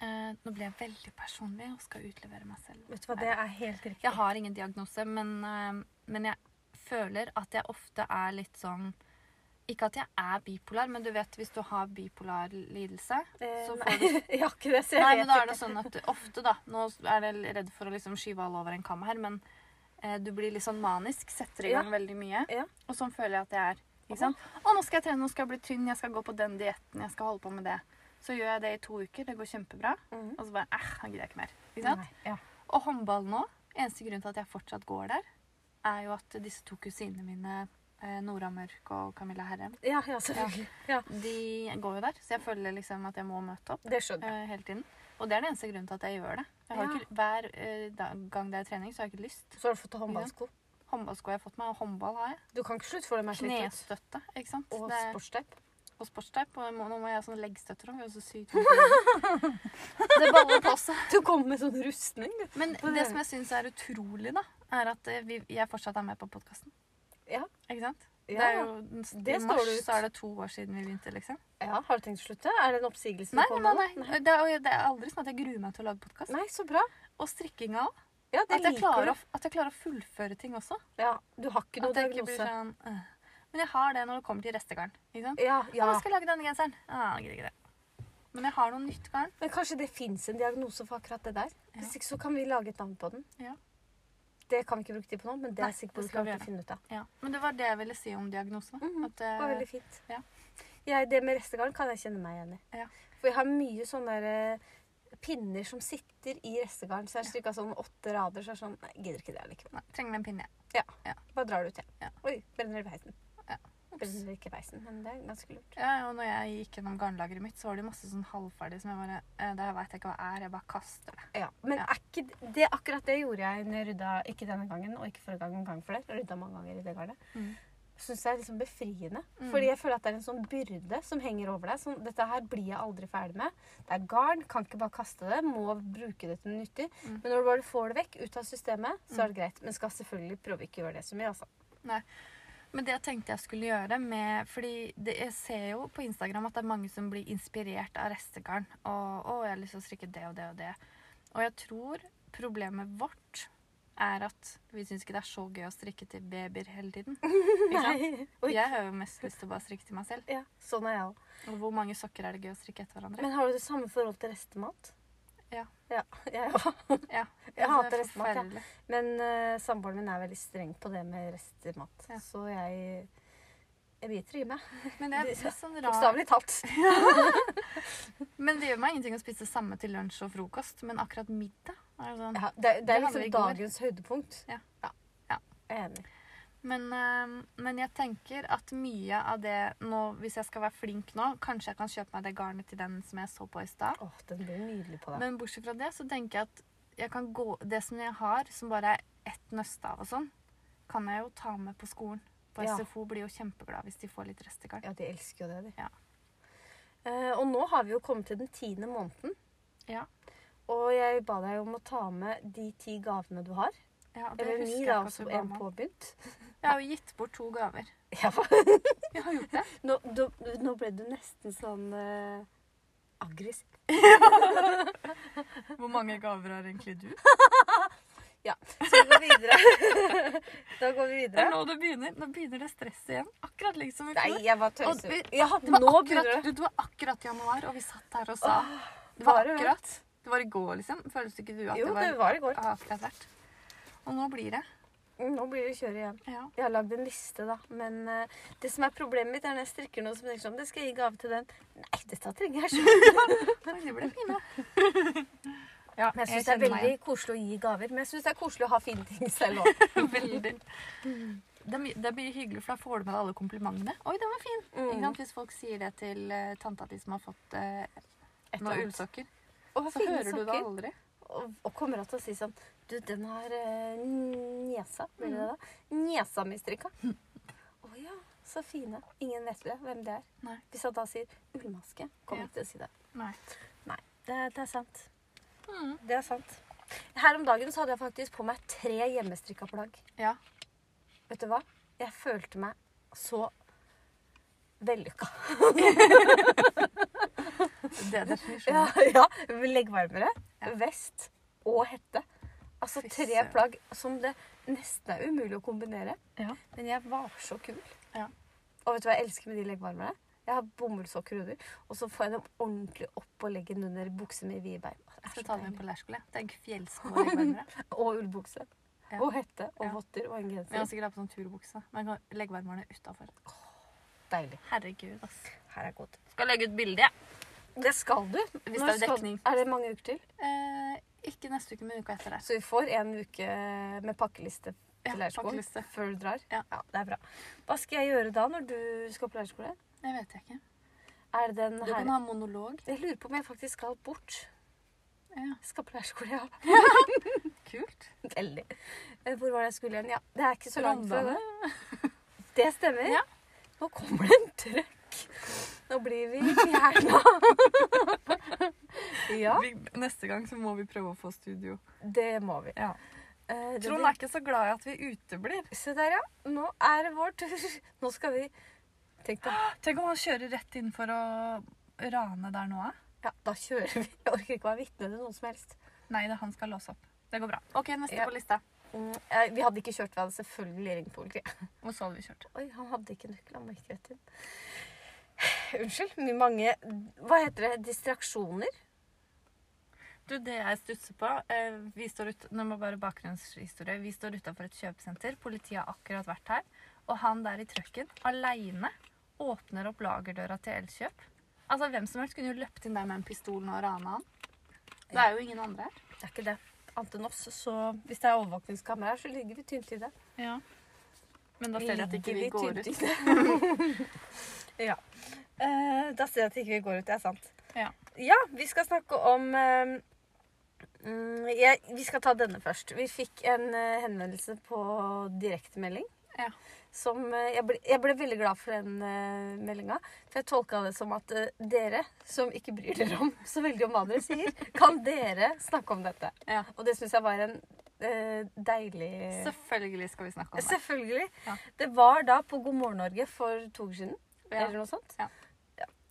eh, Nå ble jeg veldig personlig og skal utlevere meg selv. Vet du hva, det er helt riktig. Jeg har ingen diagnose, men, eh, men jeg føler at jeg ofte er litt sånn Ikke at jeg er bipolar, men du vet hvis du har bipolar lidelse, Eh, så nei, får du jeg har ikke det, så jeg Nei, men vet da er det ikke. sånn at du, ofte, da Nå er jeg redd for å liksom skyve alle over en kam her, men eh, du blir litt sånn manisk, setter i Ja. gang veldig mye. Ja. Og sånn føler jeg at jeg er. Ikke sant? Å, nå skal jeg trene, nå skal jeg bli tynn, jeg skal gå på den dietten, jeg skal holde på med det. Så gjør jeg det i to uker, det går kjempebra. Mhm. Og så bare eh, nå gidder jeg ikke mer. Ikke sant? Nei, ja. Og håndball nå, eneste grunn til at jeg fortsatt går der, er jo at disse to kusinene mine, eh, Nora Mørk og Camilla Herrem, ja, ja, selvfølgelig. Ja. de går jo der, så jeg føler liksom at jeg må møte opp Det skjønner jeg. eh, hele tiden. Og det er den eneste grunnen til at jeg gjør det. Jeg har Ja. ikke, hver eh, da- gang det er trening, så har jeg ikke lyst. Så har du fått håndballsko. Håndballsko har jeg fått meg, og håndball har jeg. Du kan ikke slutte for det med slitt ut. Knestøtte, ikke sant? Og Det er- sportsteip. og sportsteip. Og jeg må, nå må jeg ha sånn leggstøtter òg. Så sykt mye. det baller på seg. Du kommer med sånn rustning, du. Men På det det- som jeg syns er utrolig, da, er at eh, vi, jeg fortsatt er med på podkasten. Ja. Ikke sant? Ja. det er jo, I det står mars det ut. så er det to år siden vi begynte, liksom. ja. Har du tenkt å slutte? Er det en oppsigelse Nei, du nei, kommer nei. med? nei. Det, er, og jeg- det er aldri sånn at jeg gruer meg til å lage podkast. Nei, så bra. Og strikkinga òg. Ja, det At, jeg liker klarer du. å- at jeg klarer å fullføre ting også. Ja, du har ikke noe At jeg ikke blir diagnose. sånn øh. Men jeg har det når det kommer til restegarn. Ikke sant? Ja, Ja. ja. Jeg skal jeg lage denne genseren. Ah, jeg gidder ikke det. Men jeg har noe nytt garn. Men kanskje det fins en diagnose for akkurat det der? Hvis ikke så kan vi lage et navn på den. Ja. Det kan vi ikke bruke tid på nå, men det Nei, er sikkert det vi skal vi klarer å gjøre. finne ut av. Ja. Men det var det jeg ville si om diagnose. Da. Mhm. At, eh, Det var veldig fint. ja. Jeg, det med restegarn kan jeg kjenne meg igjen i. Ja. For jeg har mye sånne der, eh, pinner som sitter i restegarn. Så jeg har strikka sånn åtte rader, så jeg er sånn Nei, jeg gidder ikke det allikevel. Nei, trenger meg en pinne. Bare drar det ut, jeg. Ja. Oi, brenner det i peisen. Ja. Brenner det ikke i peisen, men det er ganske lurt. Ja, og når jeg gikk gjennom garnlageret mitt, så var det masse sånn halvferdig som jeg bare eh, Det her vet jeg ikke hva er, jeg bare kaster det. Ja. Men Ja. er ikke det akkurat det gjorde jeg når jeg rydda Ikke denne gangen, og ikke forrige gang, men gangen for det. Jeg Rydda mange ganger i det garnet. Mhm. syns det er liksom befriende. Mm. Fordi jeg føler at det er en sånn byrde som henger over deg. Sånn, dette her blir jeg aldri ferdig med. Det er garn, kan ikke bare kaste det. Må bruke det til noe nyttig. Mm. Men når du bare får det vekk ut av systemet, så er det greit. Men skal selvfølgelig prøve ikke å gjøre det så mye, altså. Men det jeg tenkte jeg skulle gjøre med Fordi det, jeg ser jo på Instagram at det er mange som blir inspirert av restegarn. Og 'Å, jeg har lyst til å strikke det og det og det'. Og jeg tror problemet vårt er at vi syns ikke det er så gøy å strikke til babyer hele tiden. Ikke sant? Oi. Jeg har jo mest lyst til å bare strikke til meg selv. Ja, sånn er jeg òg. Og hvor mange sokker er det gøy å strikke etter hverandre? Men har du det samme forhold til restemat? Ja. Ja, jeg òg. Ja. Jeg Altså, hater det er restemat, jeg. forferdelig. Men eh, samboeren min er veldig streng på det med restemat. Ja. Så jeg jeg biter i meg. Men det er litt sånn rart. Bokstavelig talt. Men det gjør meg ingenting å spise samme til lunsj og frokost, men akkurat middag er det sånn. Ja, det, er- det Det er hadde vi i liksom går. dagens høydepunkt. Ja. Ja. ja. Jeg er enig. Men, eh, men jeg tenker at mye av det nå, hvis jeg skal være flink nå, kanskje jeg kan kjøpe meg det garnet til den som jeg så på i stad. Åh, den blir nydelig på deg. Men bortsett fra det, så tenker jeg at jeg kan gå, det som jeg har, som bare er ett nøste av og sånn, kan jeg jo ta med på skolen. På Ja. SFO blir jo kjempeglad hvis de får litt restegarn. Ja, de elsker jo det, de. Ja. Eh, og nå har vi jo kommet til den tiende måneden. Ja. Og jeg ba deg om å ta med de ti gavene du har. Ja, det Eller ni, husker jeg da, ikke at også du ba en meg om. påbegynt. Jeg har jo gitt bort to gaver. Ja. Jeg har gjort det. Nå, du, nå ble du nesten sånn eh, aggressiv. Hvor mange gaver har egentlig du? Så vi går videre. da går vi Det er videre. nå det begynner. Nå begynner det stresset igjen. Akkurat liksom i Nei, fjor. jeg bare Og tøyser. vi- Jeg hadde- Det var, Nå begynner det. akkurat, du, det var akkurat januar, og vi satt her og sa Det var var det vel? akkurat. Det var i går, liksom. Føles ikke du at Jo, det det var var i går. akkurat vært? Og nå blir det. Nå blir det kjøre igjen. Ja. Jeg har lagd en liste, da. Men eh, det som er problemet mitt, er når jeg strikker noe som tenker sånn Det skal jeg gi gave til den. Nei, dette trenger jeg sjøl. Oi, det ble fine. Ja, Men jeg syns det er kjenner meg veldig koselig å gi gaver. Men jeg syns det er koselig å ha fine ting selv òg. igjen. veldig. Det er, mye, det er mye hyggelig, for da får du med deg alle komplimentene. Oi, den var fin! Ikke Mm. sant? Hvis folk sier det til eh, tanta di som har fått eh, noen ullsokker, Og så fine hører du det sokker. aldri. Og, og kommer til å si sånn Du, den har eh, niesa. Blir Mm. det det, da? Niesa mi strikka. Å ja, så fine. Ingen vet vel hvem det er. Nei. Hvis jeg da sier ullmaske, kommer Ja. ikke til å si det. Nei. det. Det er sant. Mm. Det er sant. Her om dagen så hadde jeg faktisk på meg tre hjemmestrikka plagg. Ja. Vet du hva? Jeg følte meg så vellykka. Det er definisjonen. Ja, ja. Leggvarmere, Ja. vest og hette. Altså Fy tre søren. plagg som det nesten er umulig å kombinere. Ja. Men jeg var så kul. Ja. Og vet du hva jeg elsker med de leggvarmerne? Jeg har bomullsokker under, og så får jeg dem ordentlig opp på leggen under bukse med vide bein. Det er Jeg skal så ta den deilig. med på leirskole. Tenk fjellsko og leggvarmere. Og ullbukse. Ja. Og hette og Ja. votter og en Men jeg har genser. sikkert ha på sånn turbukse. Man kan legge varmerne utafor. Deilig. Herregud, ass. Her er godt. Skal legge ut bilde, jeg. Det skal du. Hvis Når det er skal- dekning. Er det mange uker til? Eh, ikke neste uke, men uka etter der. Så vi får en uke med pakkeliste Ja, til leirskolen pakkeliste. før du drar? Ja. det er bra. Hva skal jeg gjøre da når du skal på leirskole? Det vet jeg ikke. Er det den Du her kan ha monolog. Jeg lurer på om jeg faktisk skal bort. Ja. Jeg skal på leirskole, ja. Kult. Veldig. Eh, Hvor var det jeg skulle igjen? Ja, det er ikke så langt fra Rondane. det. Det stemmer. Ja. Nå kommer det en trøkk. Nå blir vi fjerna. ja, Vi- Neste gang så må vi prøve å få studio. det må vi. Ja. Eh, det Trond blir- er ikke så glad i at vi uteblir. Se der, ja. Nå er det vår tur. Nå skal vi Tenk deg. Tenk om han kjører rett inn for å rane der nå, eh? Ja, da kjører vi. Jeg orker ikke å være vitne til noen som helst. Nei, det, han skal låse opp. Det går bra. OK, neste Ja. på lista. Mm, eh, vi hadde ikke kjørt, vi hadde selvfølgelig ringt politiet. Hvor så hadde vi kjørt? Oi, han hadde ikke nøkkel, han må ikke rett inn. Unnskyld. mye Mange Hva heter det? Distraksjoner? Du, det jeg stusser på eh, vi står ut, Nå må bare bakgrunnshistorie. Vi står utafor et kjøpesenter. Politiet har akkurat vært her. Og han der i trucken aleine åpner opp lagerdøra til Elkjøp. Altså, Hvem som helst kunne jo løpt inn der med en pistol nå og rana han. Det er jo ingen andre her. Det er ikke det. Annet enn oss, så hvis det er overvåkningskamera her, så ligger vi tynt i det. Ja. Men da ser jeg at ikke vi ligger går ut. tynt i det. ja. Eh, da ser jeg at ikke vi går ut. Det er sant. Ja. Ja, vi skal snakke om eh, mm, jeg, Vi skal ta denne først. Vi fikk en eh, henvendelse på direktemelding. Ja. som eh, jeg ble, jeg ble veldig glad for den uh, meldinga. For jeg tolka det som at eh, dere, som ikke bryr dere om så veldig om hva dere sier, kan dere snakke om dette? Ja. Og det syns jeg var en eh, deilig Selvfølgelig skal vi snakke om det. Selvfølgelig. Ja. Det var da på God morgen Norge for to uker siden. Ja. Eller noe sånt. Ja.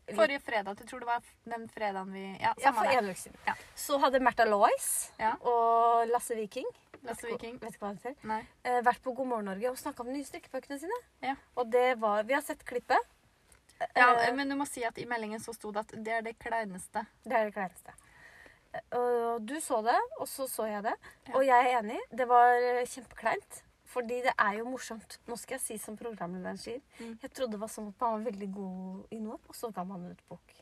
Litt- Forrige fredag. Jeg tror det var den fredagen vi Ja, Ja, samme for det. en uke siden. Ja. Så hadde Märtha Lois Ja. og Lasse Viking, Lasse Viking. vet ikke hva han heter, Nei. eh, vært på God morgen Norge og snakka om de nye strikkebøkene sine. Ja. Og det var Vi har sett klippet. Ja, Eh, men du må si at i meldingen så sto det at det er det kleineste. Det er det kleineste. Og du så det, og så så jeg det. Ja. Og jeg er enig. Det var eh, kjempekleint. Fordi det er jo morsomt. Nå skal jeg si som programlederen sier. Mm. Jeg trodde det var sånn at man var veldig god i noe, og så ga man ut bok.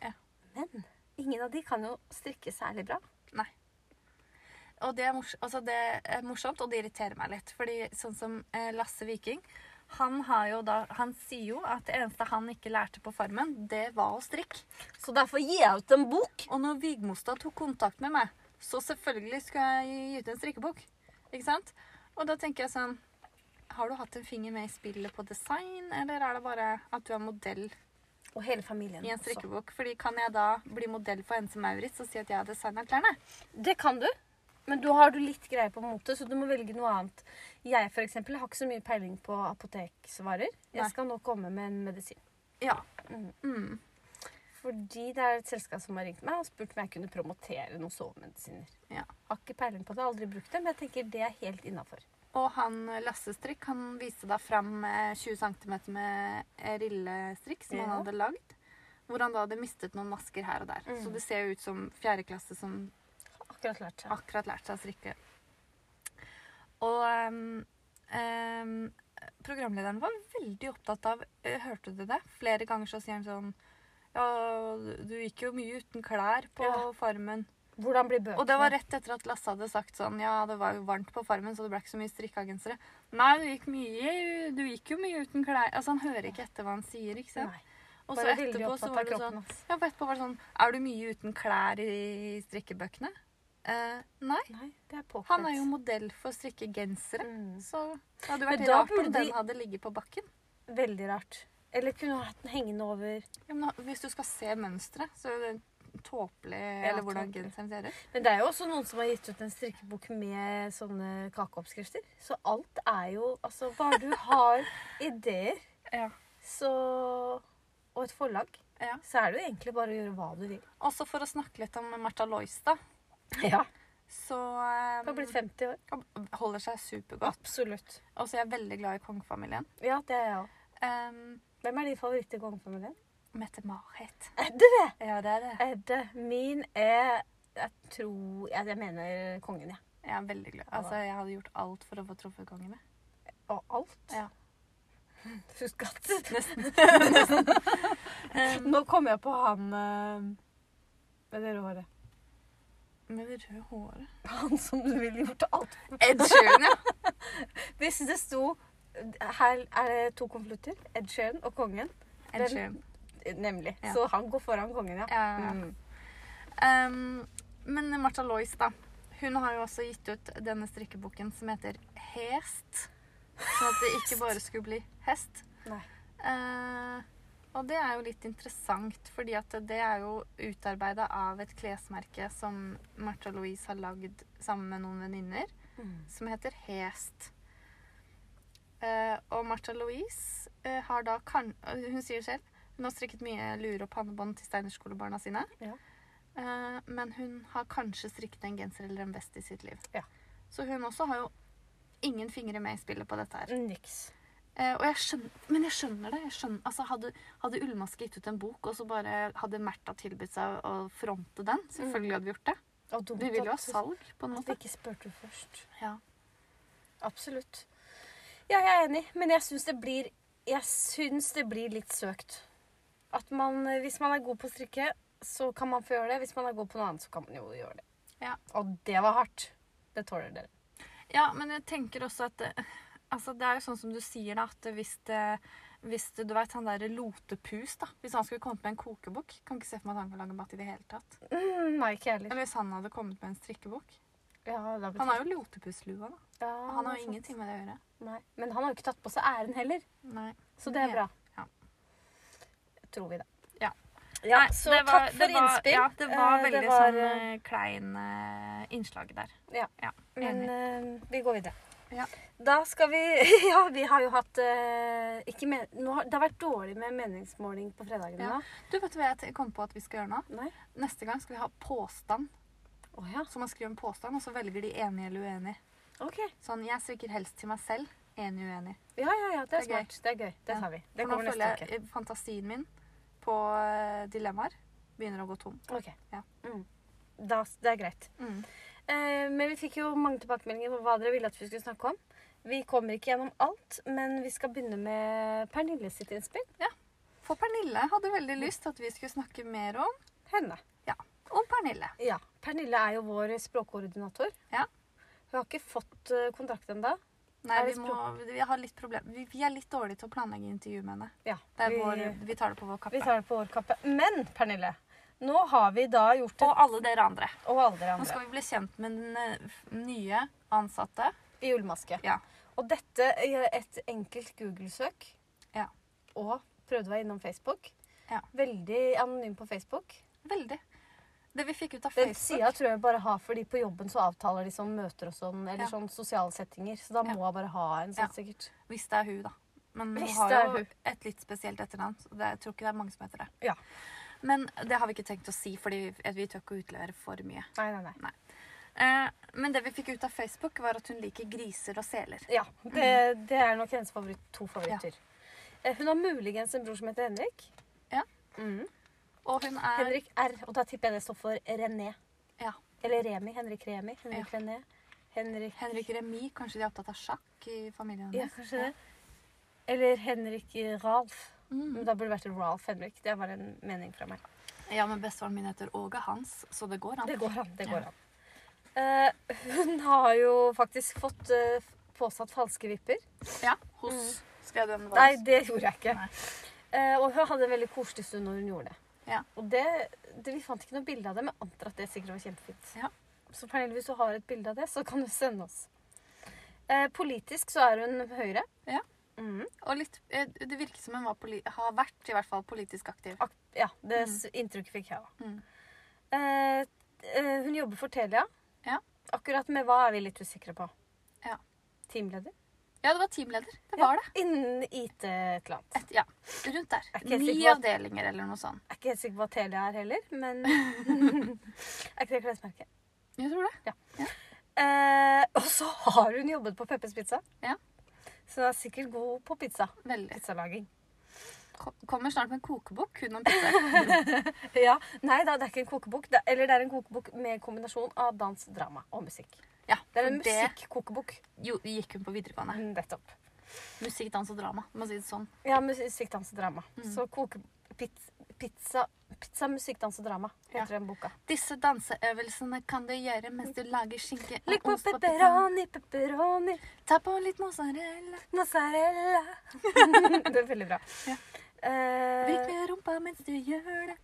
Ja. Men ingen av de kan jo strikke særlig bra. Og det er, mors altså det er morsomt, og det irriterer meg litt. Fordi sånn som eh, Lasse Viking, han, har jo da, han sier jo at det eneste han ikke lærte på Farmen, det var å strikke. Så derfor gir jeg ut en bok. Og når Vigmostad tok kontakt med meg, så selvfølgelig skulle jeg gi ut en strikkebok. Ikke sant? Og da tenker jeg sånn Har du hatt en finger med i spillet på design, eller er det bare at du er modell Og hele familien. i en også. strikkebok? Fordi kan jeg da bli modell for Ense Maurits og si at jeg har designa klærne? Det kan du. Men da har du litt greie på mote, så du må velge noe annet. Jeg for eksempel, har ikke så mye peiling på apoteksvarer. Nei. Jeg skal nå komme med en medisin. Ja. Mm. Mm. Fordi det er et selskap som har ringt meg og spurt om jeg kunne promotere noen sovemedisiner. Ja. Har ikke peiling på det, har aldri brukt det, men jeg tenker det er helt innafor. Og han Lasse-strikk han viste da fram eh, 20 cm med eh, rillestrikk som han Ja. hadde lagd. Hvor han da hadde mistet noen masker her og der. Mm. Så det ser jo ut som fjerde klasse som Akkurat lært seg. akkurat lært seg å strikke. Og ehm, ehm, programlederen var veldig opptatt av eh, Hørte du det? Flere ganger så sier han sånn Ja, du gikk jo mye uten klær på Ja. Farmen. Hvordan blir bøkene? Og det var rett etter at Lasse hadde sagt sånn Ja, det var jo varmt på farmen, så det ble ikke så mye strikka gensere. Nei, du gikk, mye, du gikk jo mye uten klær. Altså, han hører ikke etter hva han sier, ikke sant? Nei, Og så bare veldig etterpå så opptatt var av det sånn kroppen. ass. Ja, for etterpå var det sånn Er du mye uten klær i strikkebøkene? Eh, nei. Nei, det er påkledd. Han er jo modell for å strikke gensere. mm. Så det hadde Men vært da rart om burde de- den hadde ligget på bakken. Veldig rart. Eller kunne hatt den hengende over Ja, men hvis du skal se mønsteret, så er det tåpelig Ja, Eller hvordan tåpelig. genseren ser ut. Men det er jo også noen som har gitt ut en strikkebok med sånne kakeoppskrifter. Så alt er jo Altså, bare du har ideer, Ja. så Og et forlag, Ja. så er det jo egentlig bare å gjøre hva du vil. Også for å snakke litt om Martha Lois, da. Ja. Så eh, Du har blitt 50 år. og holder seg supergodt. Absolutt. Og så er jeg veldig glad i kongefamilien. Ja, det er jeg òg. Um, Hvem er din favoritt i kongefamilien? Mette-Marit. Edde, det! Ja, det er det. Edde. Min er Jeg tror Jeg, jeg mener kongen, jeg. Jeg er veldig glad. Altså, jeg hadde gjort alt for å få truffet kongen. jeg. Og alt. Ja. Husk at Nesten. Nå kom jeg på han eh, med det håret. Med det røde håret. Han som du ville gjort alt Ed Sheeran, ja. Hvis det sto Her er det to konvolutter. Ed Sheeran og kongen. Ed Sheeran. Nemlig. Ja. Så han går foran kongen, ja. Ja, ja, ja. Mm. Um, men Martha Lois, da. Hun har jo også gitt ut denne strikkeboken som heter Hest. Sånn at det ikke bare skulle bli hest. Nei. Eh, og det er jo litt interessant, fordi at det er jo utarbeida av et klesmerke som Martha Louise har lagd sammen med noen venninner, Mm. som heter Hest. Eh, og Martha Louise eh, har da kan Hun sier selv hun har strikket mye lue og pannebånd til steinerskolebarna sine. Ja. Eh, men hun har kanskje strikket en genser eller en vest i sitt liv. Ja. Så hun også har jo ingen fingre med i spillet på dette her. Niks. Eh, og jeg skjønner, men jeg skjønner det. Jeg skjønner, altså hadde, hadde Ullmaske gitt ut en bok, og så bare hadde Märtha tilbudt seg å fronte den, selvfølgelig hadde vi gjort det. Og dumt Vi vil jo ha at- salg, på en At måte. vi ikke spurte først. Ja. Absolutt. Ja, jeg er enig, men jeg syns det blir Jeg syns det blir litt søkt. At man, eh, hvis man er god på å strikke, så kan man få gjøre det. Hvis man er god på noe annet, så kan man jo gjøre det. Ja. Og det var hardt. Det tåler dere. ja, men jeg tenker også at eh, altså, Det er jo sånn som du sier, da, at hvis det hvis det, du vet, han der Lotepus, da. Hvis han skulle kommet med en kokebok Kan ikke se for meg at han kan lage mat i det hele tatt. Mm, nei, ikke jeg heller. Eller hvis han hadde kommet med en strikkebok. Ja, da betyr- Han har jo lotepusslua, da. Ja, Han har sant. jo ingenting med det å gjøre. Nei. Men han har jo ikke tatt på seg æren heller, Nei. så det er Ja. bra. Ja. Tror vi, da. Ja. Ja, Nei, så det var- takk det for var- innspill. Ja, det var Eh, veldig var, sånn eh, eh, klein eh, innslag der. Men eh, vi går videre. Ja. Da skal vi Ja, vi har jo hatt eh, ikke men, nå har, Det har vært dårlig med meningsmåling på fredagene Ja. nå. Du, vet du hva jeg te- kom på at vi skal gjøre nå? Nei? Neste gang skal vi ha påstand. Å ja. Så man skriver en påstand, og så velger de enig eller uenig. Ok. Sånn, jeg sviker helst til meg selv. Enig, uenig. Ja, ja, ja. Det Det er er gøy. smart. Det er gøy. Det Ja. tar vi. Det For nå kommer neste føler uke. jeg eh, fantasien min på eh, dilemmaer begynner å gå tom. Ok. Ja. Mm. Da, det er greit. Mm. Eh, men vi fikk jo mange tilbakemeldinger på hva dere ville at vi skulle snakke om. Vi kommer ikke gjennom alt, men vi skal begynne med Pernille sitt innspill. For Pernille hadde veldig lyst til at vi skulle snakke mer om, Henne. om Pernille. Ja. Pernille er jo vår språkkoordinator. Ja. Hun har ikke fått eh, kontrakt ennå. Nei, Er det vi, må, vi, har litt problem. Vi, vi er litt dårlige til å planlegge intervju med henne. Ja, Det er vi, vår, vi tar det på vi vår kappe. tar det på vår kappe. Men Pernille, nå har vi da gjort det, Og alle dere andre. og alle dere Nå andre, skal vi bli kjent med den eh, f- nye ansatte. i julemaske. Ja. Og dette er et enkelt Google-søk. Ja. Og prøvde å være innom Facebook. Ja. Veldig anonym på Facebook. Veldig. Det vi fikk ut av Den Facebook sida tror jeg bare har fordi på jobben så avtaler de sånn møter og sånn, eller Ja. sånn sosiale settinger. Så da må hun bare ha en sånn, Ja. sikkert. Hvis det er hun, da. Men hun Hvis har det er jo hun. et litt spesielt etternavn. Så det, jeg tror ikke det er mange som heter det. Ja. Men det har vi ikke tenkt å si, fordi vi tør ikke å utlevere for mye. Nei, nei, nei. Eh, men det vi fikk ut av Facebook, var at hun liker griser og seler. Ja, det, det er nok hennes favoritt, to favoritter. Eh, Hun har muligens en bror som heter Henrik. Ja. Mhm. Og hun er Henrik R, og da tipper jeg det står for René. Ja. Eller Remi. Henrik Remi. Henrik René. Henrik Henrik Remi. Kanskje de er opptatt av sjakk i familien Ja, hennes? kanskje det. Eller Henrik Ralf. Mm. Men da burde det vært Ralf Henrik. Det var en mening fra meg. Ja, men bestefaren min heter Åge Hans, så det går an. Det går an. det går an. Eh, hun har jo faktisk fått eh, påsatt falske vipper. Ja, Mm. hos Skrev du den? Nei, det gjorde jeg ikke. Nei. Eh, og hun hadde en veldig koselig stund når hun gjorde det. Ja. Og det, det, Vi fant ikke noe bilde av det, men jeg antar at det sikkert var kjempefint. Ja. Så Pernille, hvis du har et bilde av det, så kan du sende oss. Eh, politisk så er hun Høyre. Ja. Mhm. Og litt, eh, det virker som hun var poli har vært i hvert fall politisk aktiv. Ak ja det s- inntrykket fikk jeg òg. Mm. Eh, eh, hun jobber for Telia. Ja. Akkurat med hva er vi litt usikre på. Ja. Teamleder? Ja, det var teamleder. Det var det. Innen IT et eller annet. Et, ja, rundt der. Jeg er ikke helt Ni sikker på- avdelinger eller noe sånt. Jeg er ikke helt sikker på hva Telia er heller, men Er ikke det klesmerket? Jeg tror det. Eh, og så har hun jobbet på Peppers Pizza. Ja. Så hun er sikkert god på pizza. Veldig. Pizzalaging. Ko- Kommer snart med en kokebok kun om pizzaer. Ja, Nei da, det er ikke en kokebok. Det, eller det er en kokebok med kombinasjon av dans, drama og musikk. Ja, Det er en for det musikkokebok. Mm, jo, gikk hun på videregående. Nettopp. Musikk, dans og drama. Må si det sånn. Ja, musikk, dans og drama. Mm. Så koke... Pizza, pizza, pizza, musikk, dans og drama heter den boka. Disse danseøvelsene kan du gjøre mens du lager skinke. og Legg på ost på pizzaen. pepperoni, pepperoni, Ta på litt mozzarella. mozzarella. det er veldig bra. Ja. Vrik Eh, med rumpa mens du gjør det.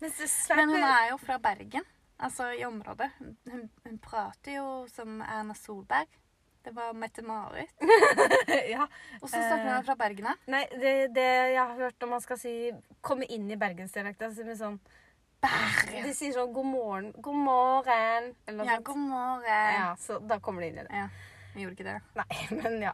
mens det Men hun sveiper- er jo fra Bergen. Altså i området. Hun, hun prater jo som Erna Solberg. Det var Mette-Marit. ja. Og så snakker hun Eh. er fra Bergen her. Nei, det, det jeg har hørt når man skal si komme inn i bergensdialekta, så sier man sånn Bergen. De sier sånn 'god morgen', 'god morgen' eller noe Ja, sånt. god morgen. Ja, så da kommer de inn i det. Ja, vi gjorde ikke det. Nei, men ja.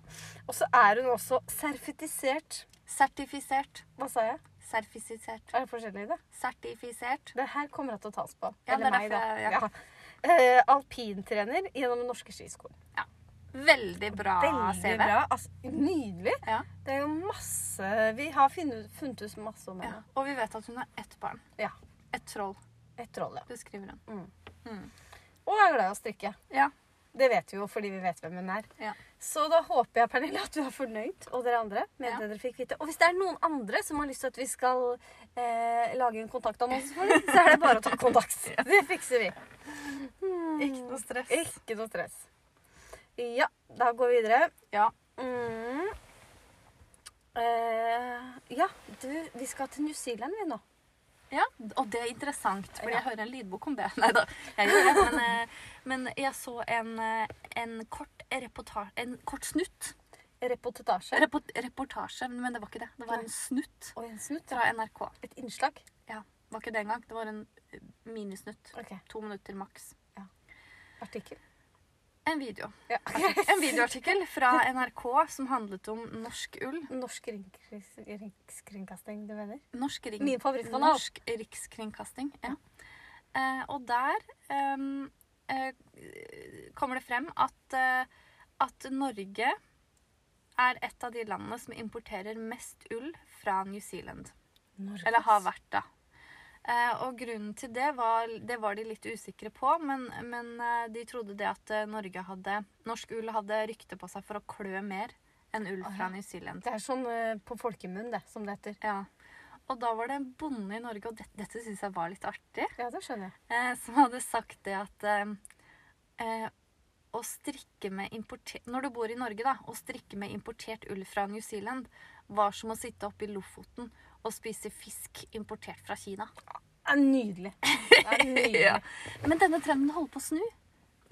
Og så er hun også sertifisert. Sertifisert. Hva sa jeg? Sertifisert. Er det forskjellig i det? Sertifisert. Det her kommer jeg til å tas på. Ja, det er da. derfor jeg- ja. Ja. Eh, alpintrener gjennom den norske skiskolen. Veldig bra Veldig CV. bra. Altså, nydelig. Ja. Det er jo masse Vi har funnet, funnet ut masse om Ja. henne. Og vi vet at hun har ett barn. Ja. Et troll. Et troll, ja. Det skriver hun. Mm. Og er glad i å strikke. Ja. Det vet vi jo fordi vi vet hvem hun er. Ja. Så da håper jeg Pernille, at du er fornøyd, og dere andre, med Ja. det dere fikk vite. Og hvis det er noen andre som har lyst til at vi skal eh, lage en kontaktannonse for dem, så er det bare å ta kontakt. Det fikser vi. Hmm. Ikke noe stress. Ikke noe stress. Ja, da går vi videre. Ja. Mm. Eh, ja, du, vi skal til New Zealand vi nå. Ja, og det er interessant, for Ja. jeg hører en lydbok om det. Nei da, jeg gjør det, men, eh, men jeg så en, eh, en, kort, reporta- en kort snutt. Reportetasje. Report, reportasje, men det var ikke det. Det var Nei. en snutt Og en snutt. fra NRK. Et innslag. Ja, det var ikke det engang. Det var en eh, minisnutt. Ok, To minutter maks. Artikkel. En video. Ja. En videoartikkel fra NRK som handlet om norsk ull. Norsk ringkris- rikskringkasting, du mener? Norsk ring... Min favorittkanal. Norsk Rikskringkasting. Ja. Eh, og der ehm, eh, kommer det frem at, eh, at Norge er et av de landene som importerer mest ull fra New Zealand. Norges. Eller har vært, da. Eh, og grunnen til det var, det var de litt usikre på, men, men eh, de trodde det at eh, Norge hadde, norsk ull hadde rykte på seg for å klø mer enn ull Å, ja. fra New Zealand. Det er sånn eh, på folkemunn, det, som det heter. Ja. Og da var det en bonde i Norge, og dette, dette syns jeg var litt artig. Ja, det skjønner jeg. eh, som hadde sagt det at eh, eh, å strikke med importert Når du bor i Norge, da, å strikke med importert ull fra New Zealand var som å sitte oppe i Lofoten og spise fisk importert fra Kina. Det er nydelig. Det er nydelig. Ja. Men denne trenden holder på å snu.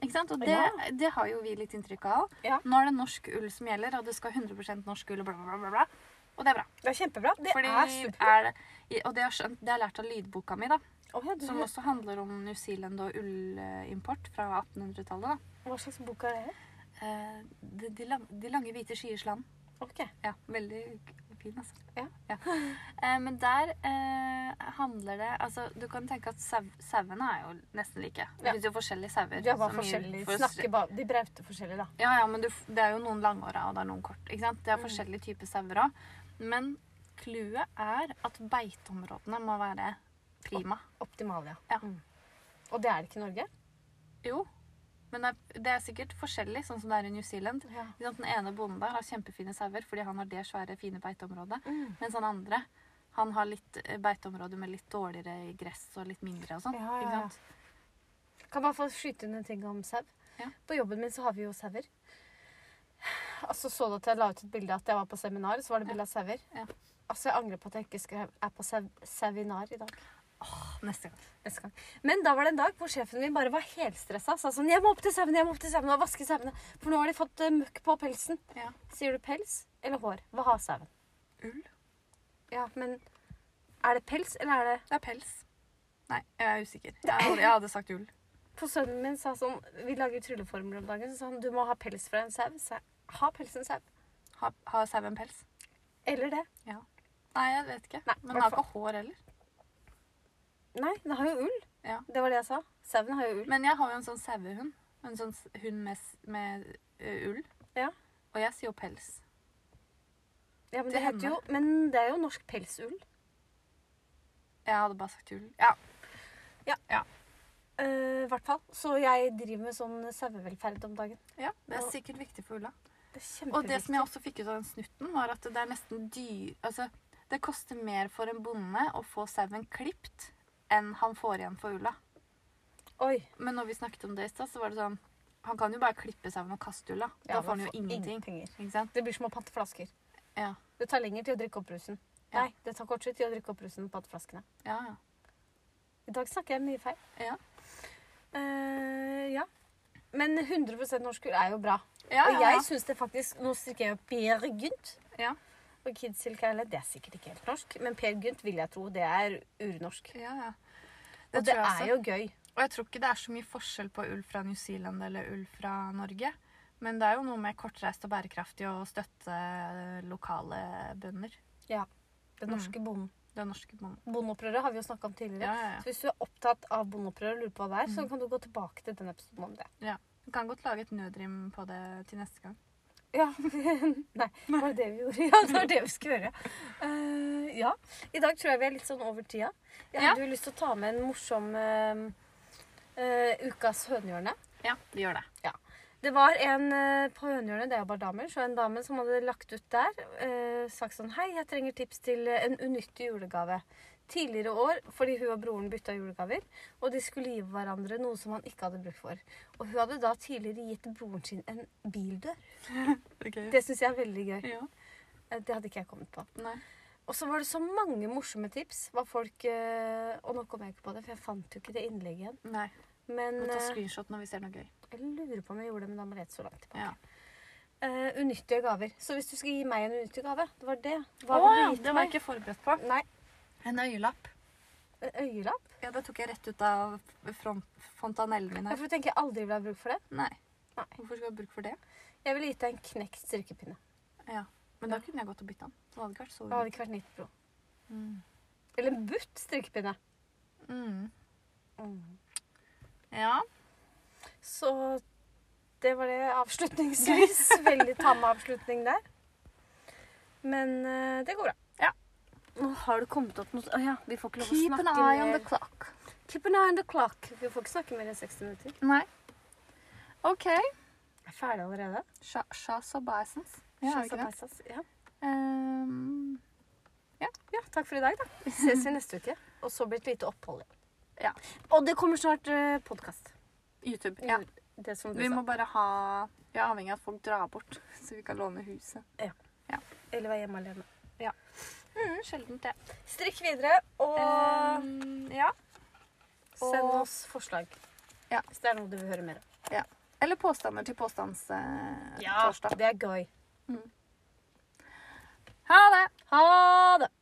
Ikke sant? Og det, Ja. det har jo vi litt inntrykk av. Ja. Nå er det norsk ull som gjelder, og det skal 100 norsk ull, og bla, bla, bla, bla, bla. Og det er bra. Det er kjempebra. Det Fordi er superbra. er det, og det har jeg skjønt, det har jeg lært av lydboka mi, da. Å ja, du, Som også handler om New Zealand og ullimport fra 1800-tallet. da. hva slags bok er det? Eh, de, de, lang, de lange hvite skyers land. Ok. Ja, veldig k- fin, altså. Ja. Eh, men der eh, handler det Altså, du kan tenke at sau- sauene er jo nesten like. Det Ja. finnes jo forskjellige sauer. De er bare som gir- forskjellige. for- Snakker bare, de brauter forskjellig, da. Ja, ja, men du, f- det er jo noen langåra og det er noen kort. Ikke sant? Det er Mm. forskjellige typer sauer òg. Men clouet er at beiteområdene må være prima. Optimalia. Ja. Mm. Og det er det ikke i Norge? Jo. Men det er, det er sikkert forskjellig, sånn som det er i New Zealand. Ja. Ikke sant? Den ene bonden der har kjempefine sauer fordi han har det svære, fine beiteområdet. Mm. Mens han andre han har litt eh, beiteområder med litt dårligere gress og litt mindre og sånn. Ja, ja, ikke ja. sant? Kan man få skyte inn en ting om sau? Ja. På jobben min så har vi jo sauer. Altså Så du at jeg la ut et bilde at jeg var på seminar, så var det bilde av sauer? Ja. Altså, jeg angrer på at jeg ikke skrev, er på sau- sauinar i dag. Neste gang. Neste gang. Men da var det en dag hvor sjefen min bare var helstressa. Sa sånn 'Jeg må opp til sauene, jeg må opp til sauene og vaske sauene.' For nå har de fått eh, møkk på pelsen. Ja. Sier du pels eller hår? Hva har sauen? Ull? Ja, men er det pels, eller er det Det er pels. Nei, jeg er usikker. Jeg, hadde- jeg hadde sagt ull. For sønnen min sa sånn Vi lager trylleformler om dagen, så sa han 'Du må ha pels fra en sau'. Så jeg, ha pelsen sau. Har ha sauen pels? Eller det. Nei, jeg vet ikke. Nei, Men den har hvertfall- ikke hår heller. Nei, den har jo ull. Ja. Det var det jeg sa. Sauen har jo ull. Men jeg har jo en sånn sauehund. En sånn s- hund med, s- med ø, ull. Ja. Og jeg sier jo pels. Ja, men, til det heter jo, men det er jo norsk pelsull. Jeg hadde bare sagt ull. Ja. Eh, I hvert fall. Så jeg driver med sånn sauevelferd om dagen. ja. Det er Og- sikkert viktig for ulla. Det er Og det kjempeviktig. som jeg også fikk ut av den snutten, var at det er nesten dyr... Altså, det koster mer for en bonde å få sauen klipt enn han får igjen for ulla. Oi. Men når vi snakket om det i stad, så var det sånn Han kan jo bare klippe sauen og kaste ulla. da Ja, får han jo får ingenting. penger. Ikke sant? Det blir som å pante flasker. Ja. Det tar lenger til å drikke opp rusen. Ja. Nei, det tar kortere tid å drikke opp rusen enn panteflaskene. Ja, ja. I dag snakker jeg mye feil. Ja. Eh, ja. Men 100 norsk ull er jo bra. ja, Og ja, jeg ja. syns det faktisk Nå strikker jeg jo Per Gynt. Ja. Og Kids Silk Island, det er sikkert ikke helt norsk, men Per Gynt vil jeg tro det er urnorsk. ja, ja. og det er jo gøy. Og jeg tror ikke det er så mye forskjell på ull fra New Zealand eller ull fra Norge. Men det er jo noe med kortreist og bærekraftig å støtte lokale bønder. Den norske bonden. Den norske bonden. Bondeopprøret har vi jo snakka om tidligere. Mm. Ja, ja, Mm. Så hvis du er opptatt av bondeopprøret og lurer på hva det er, så kan du gå tilbake til den episoden om det. ja. Vi kan godt lage et nødrim på det til neste gang. Ja. Nei, det var det vi gjorde. Ja, det var det vi skulle gjøre. Eh, ja. I dag tror jeg vi er litt sånn over tida. Jeg Ja. hadde jo lyst til å ta med en morsom eh, eh, ukas hønehjørne. Ja, vi gjør det. Det var en eh, på Hønehjørnet, det er jo bare damer, så en dame som hadde lagt ut der, eh, sagt sånn Hei, jeg trenger tips til eh, en unyttig julegave. Tidligere år, fordi hun og broren bytta julegaver, og de skulle gi hverandre noe som han ikke hadde bruk for. Og hun hadde da tidligere gitt broren sin en bildør. Okay. Det syns jeg er veldig gøy. Ja. Eh, Det hadde ikke jeg kommet på. Nei. Og så var det så mange morsomme tips hva folk eh, Og nå kom jeg ikke på det, for jeg fant jo ikke det innlegget igjen. Nei. Men Vi tar eh, screenshot når vi ser noe gøy. jeg lurer på om jeg gjorde det, men da må jeg lete så langt tilbake. Ja. Eh, unyttige gaver. Så hvis du skal gi meg en unyttig gave Det var det. Hva Å, ville ja, du gitt det var jeg meg? ikke forberedt på. Nei, En øyelapp. en øyelapp? Ja, Det tok jeg rett ut av front- fontanellen min her. Hvorfor tenker jeg aldri vil ha bruk for det? Nei. Nei. Hvorfor skal jeg bruke for det? Jeg ville gitt deg en knekt strikkepinne. Ja. Men da kunne jeg gått og bytta den. Så det hadde ikke vært så Det hadde ulikt. ikke vært 90 pro. Mm. Eller en butt strikkepinne. Mm. Ja. Så det var det avslutningsvis. Veldig tam avslutning der. Men eh, det går bra. Ja. Nå har det kommet opp noe Å ja, vi får ikke lov å Keep an snakke eye on mer. the clock. Keep an eye on the clock. Vi får ikke snakke mer enn 60 minutter. Nei. OK. Jeg er ferdig allerede. Sha- Shas og Bisons. Shazam er ikke det? Paisas. Ja. Ehm, ja, takk for i dag, da. Vi ses i neste uke. Og så blir det et lite opphold igjen. Ja. Og det kommer snart uh, podkast. YouTube. Ja. Det som du Vi sa. må bare ha Vi er avhengig av at folk drar bort, så vi kan låne huset. Eller være hjemme alene. Mm, sjeldent, det. Strikk videre, og Ehm, ja. send og- oss forslag. Ja. Hvis det er noe du vil høre mer om. Eller påstander til påstandstorsdag. Det er gøy. ha det! Ha det!